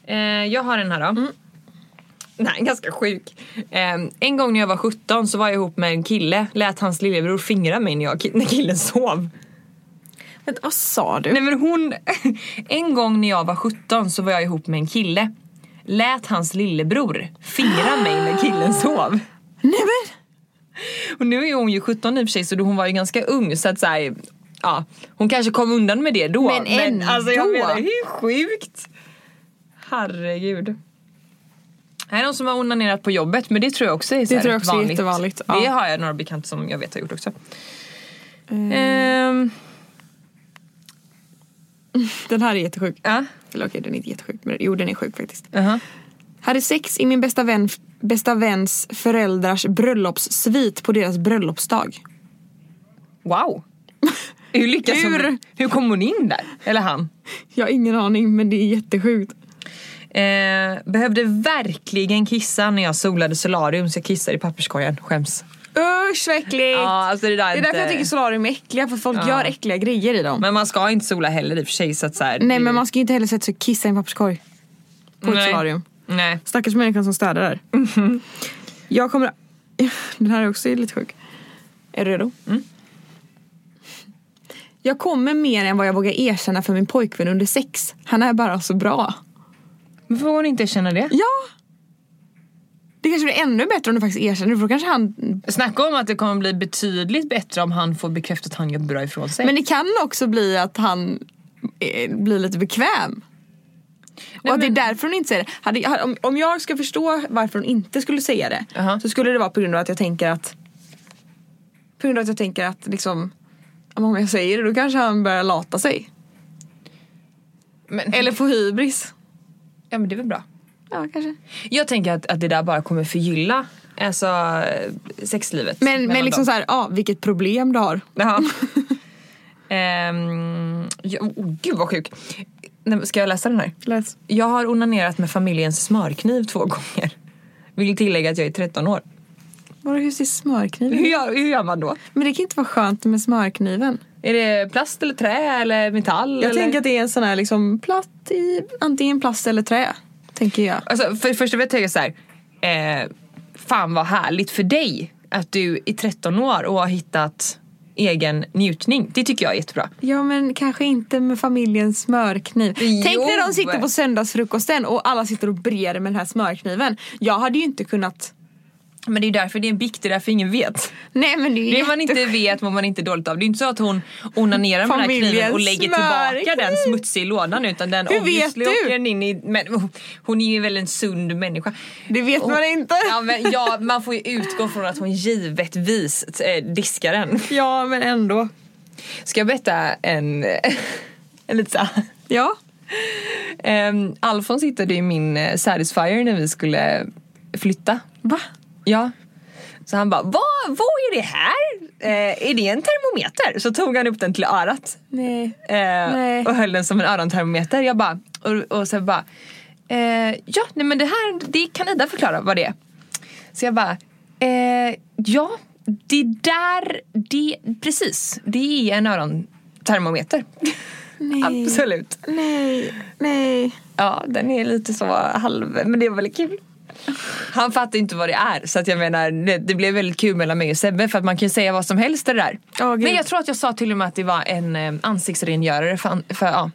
Eh, jag har en här då. Nej, ganska sjuk. Eh, en gång när jag var 17 så var jag ihop med en kille. Lät hans lillebror fingra mig när, jag, när killen sov. Vänta, vad sa du? Nej men hon... En gång när jag var 17 så var jag ihop med en kille. Lät hans lillebror fingra mig när killen sov. Nej men! Och nu är hon ju 17 i och för sig så då hon var ju ganska ung så att så här, ja, hon kanske kom undan med det då. Men ändå. alltså jag menar hur sjukt? Herregud. Här är någon som har onanerat på jobbet men det tror jag också är, så här tror jag också är vanligt. jättevanligt, ja. Det har jag några bekanta som jag vet har gjort också. Eh. Ehm, Den här är jättesjuk. ja. Eller okej, den är inte jättesjuk. Men, jo, den är sjuk faktiskt. Aha. Hade sex i min bästa, vän, bästa väns föräldrars bröllopssvit på deras bröllopsdag. Wow. Hur lyckas Hur? hon? Hur kom hon in där? Eller han? Jag har ingen aning, men det är jättesjukt. Eh, behövde verkligen kissa när jag solade solarium så jag kissade i papperskorgen. Skäms. Usch vad äckligt! Ja, alltså det där är det är därför inte- jag tycker solarium är äckliga, för folk Ja. gör äckliga grejer i dem. Men man ska inte sola heller i och för sig. Så att så här, Nej, det- men man ska ju inte heller sätta sig och kissa i en papperskorg. På ett Nej. solarium. Nej. Stackars människan som städar där. Jag kommer... Den här är också lite sjuk. Är du redo? Jag kommer mer än vad jag vågar erkänna för min pojkvän under sex. Han är bara så bra. Men får hon inte känna det? Ja! Det kanske blir ännu bättre om du faktiskt erkänner det, för då kanske han... Snacka om att det kommer bli betydligt bättre om han får bekräfta att han gör bra ifrån sig. Men det kan också bli att han eh, blir lite bekväm. och att men- det är därför hon inte säger det. Hade, hade- om, om jag ska förstå varför hon inte skulle säga det Aha. så skulle det vara på grund av att jag tänker att på grund av att jag tänker att liksom ja, men om jag säger det då kanske han börjar lata sig. Men- Eller få hybris. ja, men det är väl bra. Ja, kanske. Jag tänker att, att det där bara kommer förgylla alltså, eh, sexlivet. Men, mellan men liksom dem. såhär, ja vilket problem du har. Jaha. Ehm, ja, oh, gud vad sjuk. Nej, men Ska jag läsa den här? Läs. Jag har onanerat med familjens smörkniv två gånger. Vill tillägga att jag är 13 år. Vadå hur ser smörkniven Hur ut? gör, hur gör man då? Men det kan inte vara skönt med smörkniven. Är det plast eller trä eller metall? Jag eller? tänker att det är en sån här liksom platt i antingen plast eller trä. Tänker jag. Alltså, för det första vill jag tänka så här. Eh, fan vad härligt för dig att du är 13 år och har hittat egen njutning. Det tycker jag är jättebra. Ja men kanske inte med familjens smörkniv. Jo. Tänk när de sitter på söndagsfrukosten och alla sitter och breder med den här smörkniven. Jag hade ju inte kunnat... Men det är ju därför det är en bikt, det är därför ingen vet. Nej men det är ju Det man inte jättesjukt. vet mår man inte dåligt av. Det är inte så att hon onanerar med den här kniven och Familjens lägger tillbaka smörkniv. den smutsiga i lådan utan den Hur vet obviously du? åker den in i... Men, hon är ju väl en sund människa. Det vet man inte. Ja, men, ja, man får ju utgå från att hon givetvis eh, diskar den. Ja men ändå. Ska jag berätta en, en lite så här- Ja. Ehm, Alfons hittade ju min eh, Satisfyer när vi skulle flytta. Va? Ja. Så han bara, vad, vad är det här? Eh, är det en termometer? Så tog han upp den till örat Nej. eh, Nej. och höll den som en örontermometer. Jag bara, och, och så bara, eh, ja nej men det här det kan Ida förklara vad det är. Så jag bara, eh, ja det där, det, precis, det är en örontermometer. Nej. Absolut. Nej. Nej. Ja, den är lite så halv, men det var väldigt kul. Han fattar inte vad det är. Så att jag menar, det, det blev väldigt kul mellan mig och Sebbe för att man kan ju säga vad som helst i det där. Ja, gud. Men jag tror att jag sa till och med att det var en eh, ansiktsrengörare för, för ja,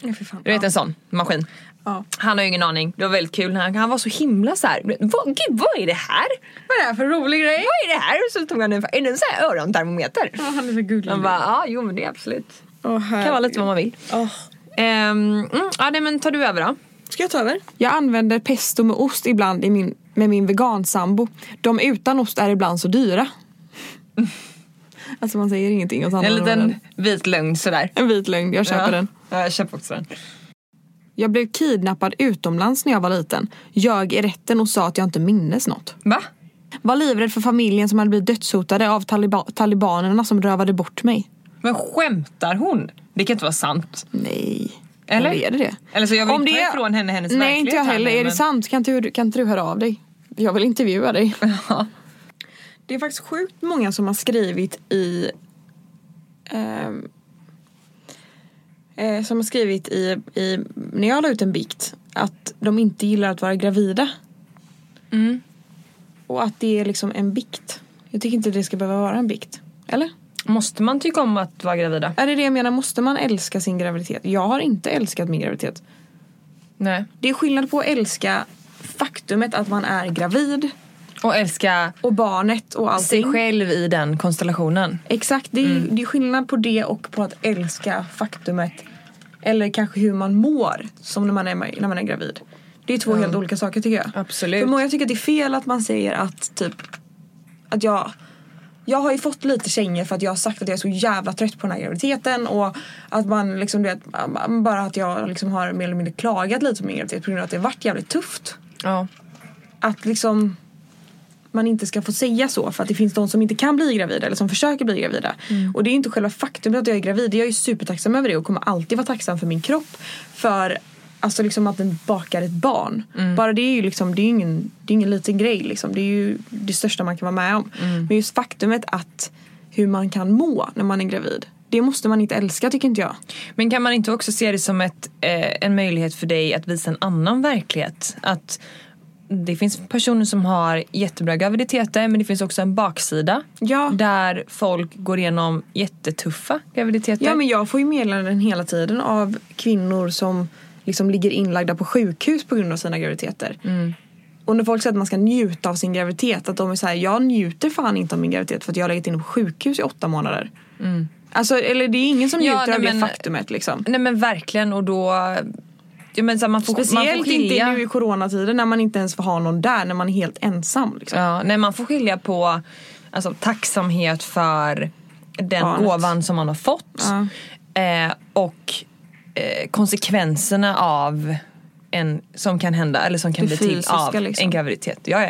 Ja, fy fan. du vet en sån maskin. Ja. Han har ju ingen aning. Det var väldigt kul. Han, han var så himla så här. Vad, gud, vad är det här? Vad är det här för rolig grej? Vad är det här? Så tog han en, är det en sån här örontermometer? Ja, han är så gullig. Han bara, ja jo men det är absolut. Åh, Kan vara lite vad man vill. herregud. Åh. Ehm, mm, ja nej, men tar du över då? Ska jag ta över? Jag använder pesto med ost ibland i min, med min vegansambo. De utan ost är ibland så dyra. Alltså man säger ingenting och så En handlar man liten den. vit lögn sådär. En vit lögn, jag köper ja. den. Ja, jag köper också den. Jag blev kidnappad utomlands när jag var liten. Ljög i rätten och sa att jag inte minnes något. Va? Var livrädd för familjen som hade blivit dödshotade av taliba- talibanerna som rövade bort mig. Men skämtar hon? Det kan inte vara sant. Nej. Eller? Eller är det det? Eller så jag vill Om inte det ta är- ifrån henne hennes Nej, verklighet. inte jag här heller. nu, Är det men- sant? Kan inte, du- kan inte du höra av dig? Jag vill intervjua dig. Ja. Det är faktiskt sjukt många som har skrivit i... ehm, eh, som har skrivit i, i... När jag la ut en bikt att de inte gillar att vara gravida. Mm. Och att det är liksom en bikt. Jag tycker inte det ska behöva vara en bikt. Eller? Måste man tycka om att vara gravida? Är det det jag menar? Måste man älska sin graviditet? Jag har inte älskat min graviditet. Nej. Det är skillnad på att älska faktumet att man är gravid Och älska och barnet och sig allting. själv i den konstellationen. Exakt, det är, ju- det är skillnad på det och på att älska faktumet. Eller kanske hur man mår som när man är, när man är gravid. Det är två helt olika saker tycker jag. Absolut. För många tycker att det är fel att man säger att typ att jag jag har ju fått lite kängor för att jag har sagt att jag är så jävla trött på den här graviditeten och att man liksom du vet, bara att jag liksom har mer eller mindre klagat lite på min graviditet på grund av att det har varit jävligt tufft. Ja. Att liksom man inte ska få säga så för att det finns de som inte kan bli gravida eller som försöker bli gravida. Och det är inte själva faktumet att jag är gravid. Jag är ju supertacksam över det och kommer alltid vara tacksam för min kropp. För alltså liksom att den bakar ett barn. Bara det är ju liksom, det är ju ingen, det är ingen liten grej liksom. Det är ju det största man kan vara med om. Men just faktumet att hur man kan må när man är gravid. Det måste man inte älska tycker inte jag. Men kan man inte också se det som ett, eh, en möjlighet för dig att visa en annan verklighet? Att det finns personer som har jättebra graviditeter men det finns också en baksida Ja. där folk går igenom jättetuffa graviditeter. Ja men jag får ju meddelanden hela tiden av kvinnor som liksom ligger inlagda på sjukhus på grund av sina graviditeter. Mm. Och när folk säger att man ska njuta av sin graviditet, att de är så här, jag njuter fan inte av min graviditet för att jag har legat inne på sjukhus i åtta månader. Alltså eller det är ingen som Mm. Ja, njuter nej, av det men- faktumet liksom. Nej men verkligen och då... Ja, men, så här, man får, man Speciellt får skilja. inte nu i coronatider när man inte ens får ha någon där, när man är helt ensam. Liksom. Ja, nej, man får skilja på alltså, tacksamhet för den Barnet. gåvan som man har fått eh, och eh, konsekvenserna av en som kan hända eller som kan Det bli till fysiska, av en liksom. Mm. graviditet. Ja, ja.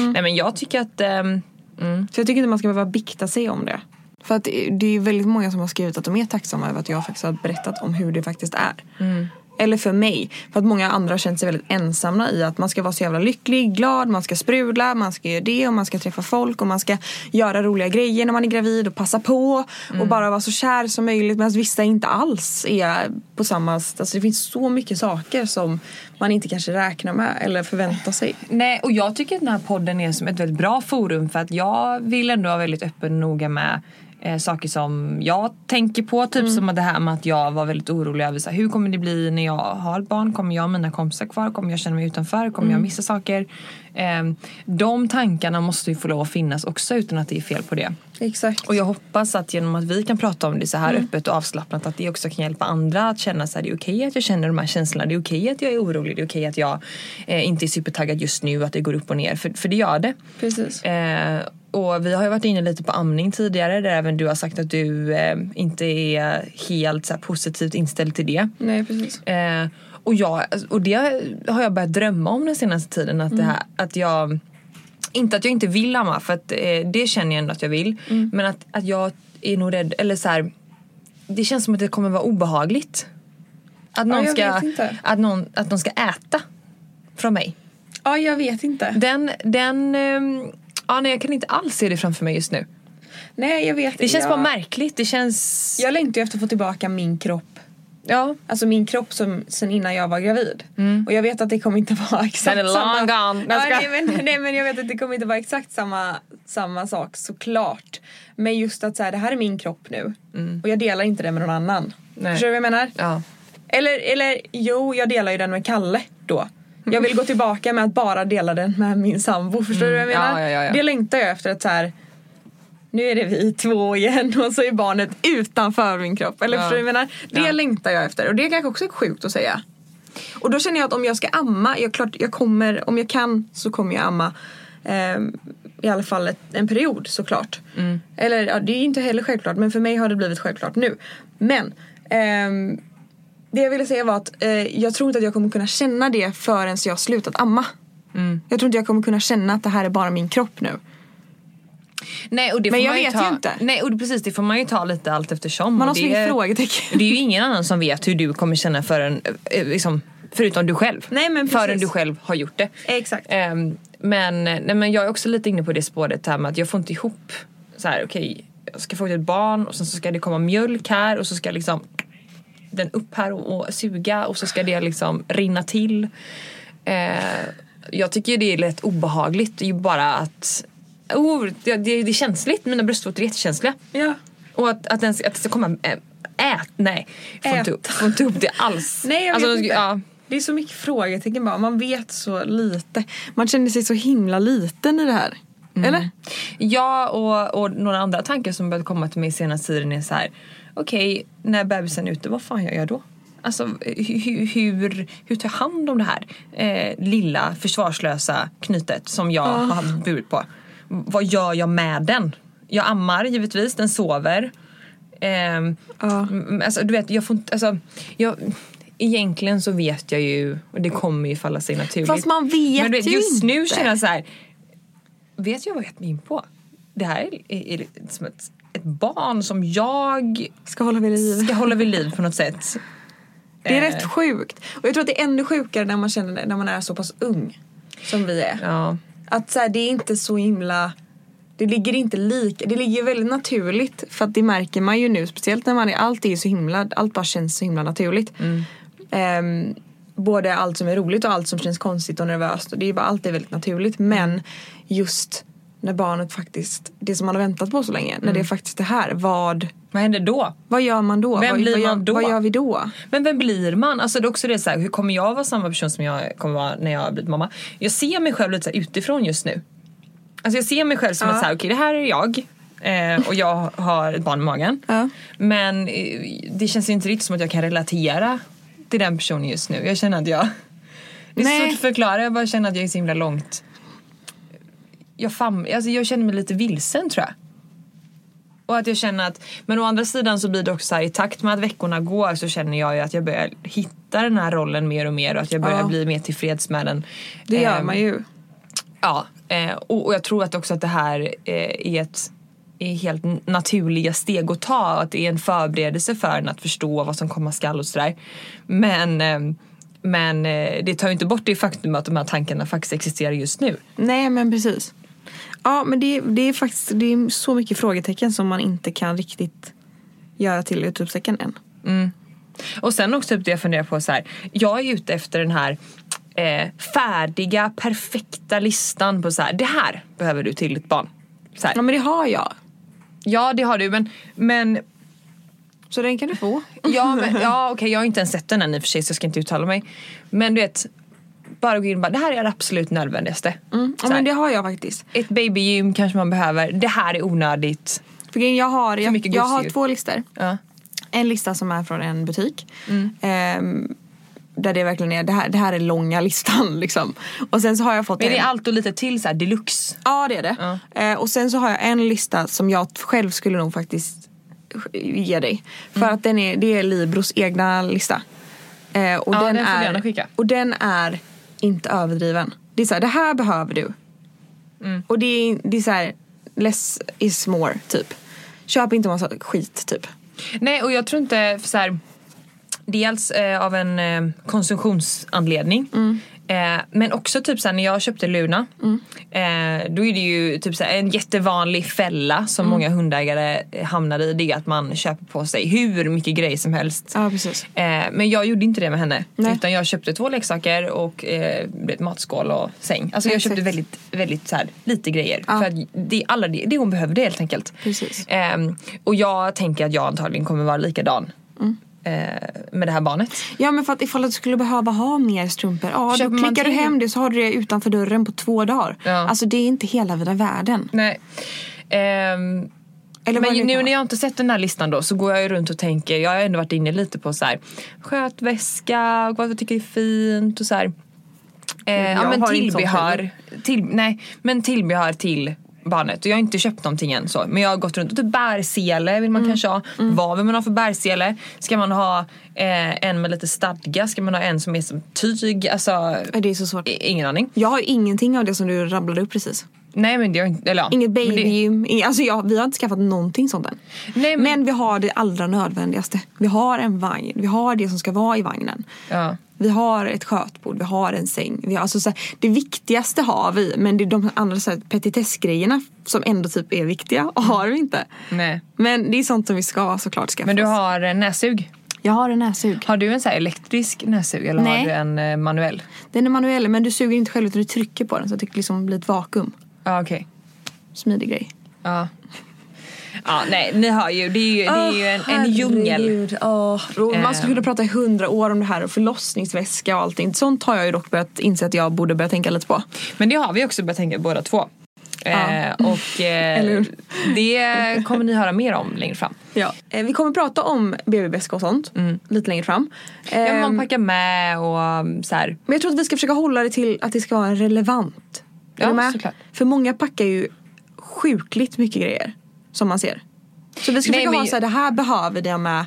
Nej, men jag tycker att ehm, Så jag tycker inte man ska behöva bikta sig om det. För att det det är ju väldigt många som har skrivit att de är tacksamma över att jag faktiskt har berättat om hur det faktiskt är. Mm. Eller för mig. För att många andra har känt sig väldigt ensamma i att man ska vara så jävla lycklig, glad, man ska sprudla, man ska göra det och man ska träffa folk och man ska göra roliga grejer när man är gravid och passa på Mm. och bara vara så kär som möjligt. Medan vissa inte alls är på samma... Alltså det finns så mycket saker som man inte kanske räknar med eller förväntar sig. Nej, och jag tycker att den här podden är som ett väldigt bra forum för att jag vill ändå vara väldigt öppen och noga med eh, saker som jag tänker på. Typ som det här med att jag var väldigt orolig över så här, hur kommer det bli när jag har ett barn? Kommer jag och mina kompisar kvar? Kommer jag känna mig utanför? Kommer jag missa saker? Eh, de tankarna måste ju få lov att finnas också utan att det är fel på det. Exakt. Och jag hoppas att genom att vi kan prata om det så här öppet och avslappnat att det också kan hjälpa andra att känna så här, det är okej att jag känner de här känslorna, det är okej att jag är orolig, det är okej att jag eh, inte är supertaggad just nu, att det går upp och ner, för, för det gör det. Precis. Eh, och vi har ju varit inne lite på amning tidigare där även du har sagt att du eh, inte är helt så här, positivt inställd till det. Nej precis. Eh, och, jag, och det har jag börjat drömma om den senaste tiden. Att, Mm. det här, att jag... Inte att jag inte vill amma, för att, eh, det känner jag ändå att jag vill. Mm. Men att, att jag är nog rädd, eller så här, Det känns som att det kommer vara obehagligt. Att någon, jag ska, vet inte. att någon, att någon ska äta från mig. Ja jag vet inte. Den... den ehm, ja, nej, jag kan inte alls se det framför mig just nu. Nej jag vet Det känns jag, bara märkligt. Det känns... Jag längtar ju efter att få tillbaka min kropp Ja. Alltså min kropp som, sen innan jag var gravid. Och jag vet att det kommer inte vara exakt Mm. Den är long samma. gone. Nej, Ja, jag ska- nej, men, nej men jag vet att det kommer inte vara exakt samma, samma sak såklart. Men just att så här, det här är min kropp nu. Och jag delar inte den med någon annan. Mm. Nej. Förstår du vad jag menar? Ja. Eller, eller jo, jag delar ju den med Kalle då. Jag vill gå tillbaka med att bara dela den med min sambo. Förstår du vad jag Mm. ja, menar? ja, ja, ja. Det längtar jag efter att så här. Nu är det vi två igen och så är barnet utanför min kropp. Eller Ja. förstår du vad jag menar? Det Ja. längtar jag efter och det är kanske också sjukt att säga. Och då känner jag att om jag ska amma, jag, klart, jag kommer, om jag kan så kommer jag amma. ehm, I alla fall ett, en period såklart. Mm. Eller ja, det är inte heller självklart men för mig har det blivit självklart nu. Men ehm, det jag ville säga var att eh, jag tror inte att jag kommer kunna känna det förrän jag slutat amma. Mm. Jag tror inte jag kommer kunna känna att det här är bara min kropp nu. Nej, och det Men får jag man ju vet ta, ju inte. Nej, och precis, det får man ju ta lite allt eftersom. Man har Och det så mycket är- frågetecken. Det är ju ingen annan som vet hur du kommer känna förrän, eh, liksom, förutom du själv. Nej, men precis. förrän du själv har gjort det. Exakt. Ehm, men, nej, men jag är också lite inne på det spåret här med att jag får inte ihop så här, okej, jag ska få ut ett barn och sen så ska det komma mjölk här och så ska liksom den upp här och, och suga och så ska det liksom rinna till. Eh, jag tycker ju det är lätt obehagligt. Det är ju bara att oh, det, det, det är känsligt. Mina bröstvårtor är jättekänsliga. Ja. Och att, att, den, att det ska komma... Äh, ät! Nej, jag får, inte upp, får inte upp det alls. Nej, jag Alltså, vet de- inte. Ja, Det är så mycket frågetecken bara. Man vet så lite. Man känner sig så himla liten i det här. Mm. Eller? jag och, och några andra tankar som börjat komma till mig senaste tiden är så här. Okej, när bebisen är ute, vad fan jag gör då? Alltså hu- hu- hur, hur tar jag hand om det här eh, lilla försvarslösa knytet som jag har burit på? Vad gör jag med den? Jag ammar givetvis, den sover. Ehm, Ja. Mm, Alltså, du vet, jag får inte... Alltså, jag, egentligen så vet jag ju, och det kommer ju falla sig naturligt. Fast man vet Men du vet, ju just nu inte. känner jag så här, vet jag vad jag gett mig in på? Det här är, är, är som ett, ett barn som jag Ska hålla vid liv. ska hålla vid liv på något sätt. Det är Eh, rätt sjukt. Och jag tror att det är ännu sjukare när man, känner, när man är så pass ung som vi är. Ja. Att så här, det är inte så himla... Det ligger inte lika... Det ligger väldigt naturligt. För att det märker man ju nu. Speciellt när man är... Allt är ju så himla... Allt bara känns så himla naturligt. Mm. Ehm, både allt som är roligt och allt som känns konstigt och nervöst. Och det är ju bara allt är väldigt naturligt. Mm. Men just när barnet faktiskt... Det som man har väntat på så länge. När Mm. det faktiskt är här. Vad... Vad händer då? Vad gör man då? Vem vad, blir vad, gör- man då? Vad gör vi då? Men vem blir man? Alltså det är också det så här, hur kommer jag vara samma person som jag kommer vara när jag har blivit mamma? Jag ser mig själv lite så här utifrån just nu. Alltså jag ser mig själv som Ja. att så här, okej det här är jag eh, och jag har ett barn i magen. Ja. Men eh, det känns inte riktigt som att jag kan relatera till den personen just nu. Jag känner att jag... Det är Nej. svårt att förklara, jag bara känner att jag är så himla långt... Jag, fam... alltså jag känner mig lite vilsen tror jag. Och att jag känner att, men å andra sidan så blir det också så här, i takt med att veckorna går så känner jag ju att jag börjar hitta den här rollen mer och mer och att jag börjar Ja. bli mer tillfreds med den. Det gör Ehm, man ju. Ja, eh, och, och jag tror att också att det här eh, är ett är helt n- naturliga steg att ta och att det är en förberedelse för en att förstå vad som komma skall och sådär. Men, eh, men eh, det tar ju inte bort det faktum att de här tankarna faktiskt existerar just nu. Nej men precis. Ja men det, det är faktiskt det är så mycket frågetecken som man inte kan riktigt göra till utropstecken än. Och sen också typ det jag funderar på så här. Jag är ute efter den här eh, färdiga, perfekta listan på så här. Det här behöver du till ditt barn. Så här. Ja men det har jag. Ja, det har du, men, men Så den kan du få. Ja, men, ja okej jag har inte ens sett den än i och för sig så jag ska inte uttala mig. Men du vet, bara gå in och bara det här är det absolut nödvändigaste. Så Mm. Ja här, men det har jag faktiskt. Ett babygym kanske man behöver, det här är onödigt. För grejen, jag har, jag, mycket jag gosedjur. har två listor. Ja. En lista som är från en butik. Mm. Ehm, där det verkligen är, det här, det här är långa listan liksom. Och sen så har jag fått Men en... det är allt och lite till så här deluxe. Ja det är det. Ja. Eh, och sen så har jag en lista som jag själv skulle nog faktiskt ge dig. För Mm. att den är, det är Libros egna lista. Eh, och Ja, den, den får du är, gärna skicka. Och den är inte överdriven. Det är så här, det här behöver du. Mm. Och det är, det är så här, less is more typ. Köp inte massa skit typ. Nej och jag tror Mm. inte för så här, dels eh, av en eh, konsumtionsanledning Eh, men också typ såhär, när jag köpte Luna, eh, då är det ju typ såhär, en jättevanlig fälla Mm. som många hundägare hamnar i. Det är att man köper på sig hur mycket grejer som helst. Ja, precis. Eh, men jag gjorde inte det med henne. Nej. Utan jag köpte två leksaker och eh, du vet, matskål och säng. Alltså jag Exakt. köpte väldigt, väldigt så här, lite grejer. Ja. För att det är alla det, det hon behövde helt enkelt. Precis. Ehm, och jag tänker att jag antagligen kommer vara likadan. eh, Med det här barnet. Ja men för att ifall du skulle behöva ha mer strumpor, ja då Köper man klickar du till? hem det så har du det utanför dörren på två dagar. Ja. Alltså det är inte hela vida världen. Nej. Ehm, Eller vad det men kan nu vara. när jag inte sett den här listan då så går jag ju runt och tänker, jag har ändå varit inne lite på så här, skötväska, och vad jag tycker är fint och så här. Mm, Eh, ja jag men har inte sånt tillbehör, heller. till, nej men tillbehör till barnet. Och jag har inte köpt någonting än så men jag har gått runt och typ bärsele vill man Mm, kanske ha. Vad vill man ha för bärsele? Ska man ha eh, en med lite stadga? Ska man ha en som är som tyg? Alltså, Ja, Det är så svårt. i- ingen aning. Jag har ingenting av det som du rabblade upp precis. Nej men det har inte, eller ja. Inget Men det- babygym, ing- alltså jag, vi har inte skaffat någonting sånt än. Nej, men... men- vi har det allra nödvändigaste. Vi har en vagn, vi har det som ska vara i vagnen. Ja. Vi har ett skötbord, vi har en säng. Vi har, alltså, så här, det viktigaste har vi men det är de andra så här petitessgrejerna som ändå typ är viktiga och har vi inte. Mm. Nej. Men det är sånt som vi ska såklart skaffa Men du oss. har eh, näsug? Jag har en näsug. Har du en så här elektrisk näsug eller Nej. har du en eh, manuell? Den är manuell men du suger inte själv utan du trycker på den så att det liksom blir ett vakuum. Ja okej. Smidig grej. Ja. Ja nej ni hör ju, det är ju, det är ju en, en djungel. Herregud, ja. Och Man skulle Ehm. kunna prata i hundra år om det här och förlossningsväska och allting. Sånt har jag ju dock börjat inse att jag borde börja tänka lite på. Men det har vi också börjat tänka båda två. Eh, och Eller eh, hur? det kommer ni höra mer om längre fram. Ja. Eh, Vi kommer prata om BB-väska och sånt lite längre fram. Mm. Ja, Ehm, men man packar med och um, så här. Men jag tror att vi ska försöka hålla det till att det ska vara relevant. Är Ja, du med? såklart. För många packar ju sjukligt mycket grejer som man ser. Så vi ska Nej, försöka men- ha så här, det här behöver jag med.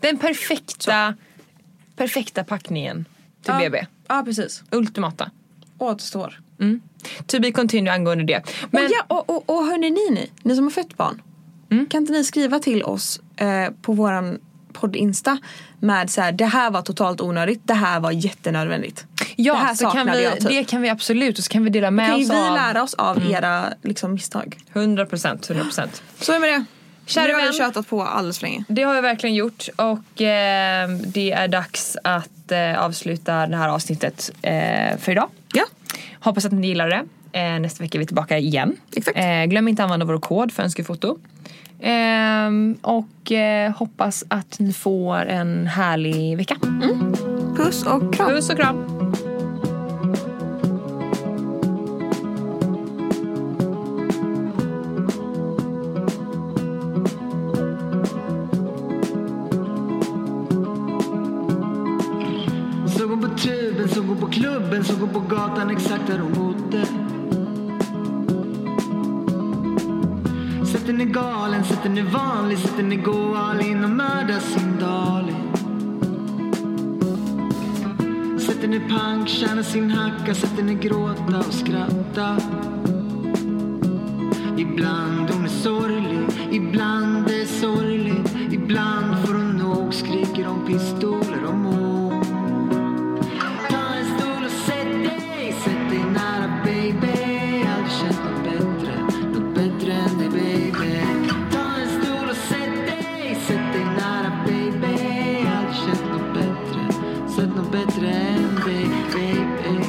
Den perfekta, perfekta packningen till Ja. BB. Ja, precis. Ultimata. Återstår. Mm. To be continue angående det. Men, och, ja, och, och, och hörni ni, ni, ni som har fött barn. Mm. Kan inte ni skriva till oss eh, på våran podd-insta med så här, det här var totalt onödigt, det här var jättenödvändigt. ja, det här så kan vi, jag typ. det kan vi absolut och så kan vi dela med kan ju oss vi av Mm. lära oss av era liksom, misstag. 100 procent, 100 procent. Så är med det. Kära nu har vi vän. tjatat på alldeles för länge. Det har vi verkligen gjort och eh, det är dags att eh, avsluta det här avsnittet eh, för idag. Ja. Hoppas att ni gillar det. Eh, nästa vecka är vi tillbaka igen. Exakt. Eh, glöm inte att använda vår kod för önskefoto. Ehm, och eh, hoppas att ni får en härlig vecka. Puss och kram. Puss och kram! Som går på tuben, som går på klubben, som går på gatan exakt där hon bodde. Sätter ni galen, sätter ni vanlig, sätter ni gå all in och mörda sin darling. Sätter ni pank, tjänar sin hacka, sätter ni gråta och skratta. Ibland hon är sorglig, ibland är sorgligt, ibland får hon nog, skriker om pistoler och mord. Ta en stol och sätt dig, sätt dig nära baby Aldrig känt något bättre, något bättre än dig baby Ta en stol och sätt dig, sätt dig nära baby Aldrig känt något bättre, sett något bättre än dig baby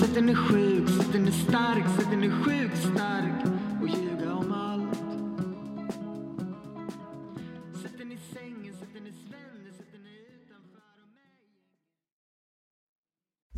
Sätt den är sjuk, sätt den är stark, sätt den är sjuk stark och ljuga om allt Sätt den i sängen, sätt den i svännen, sätt den i utanför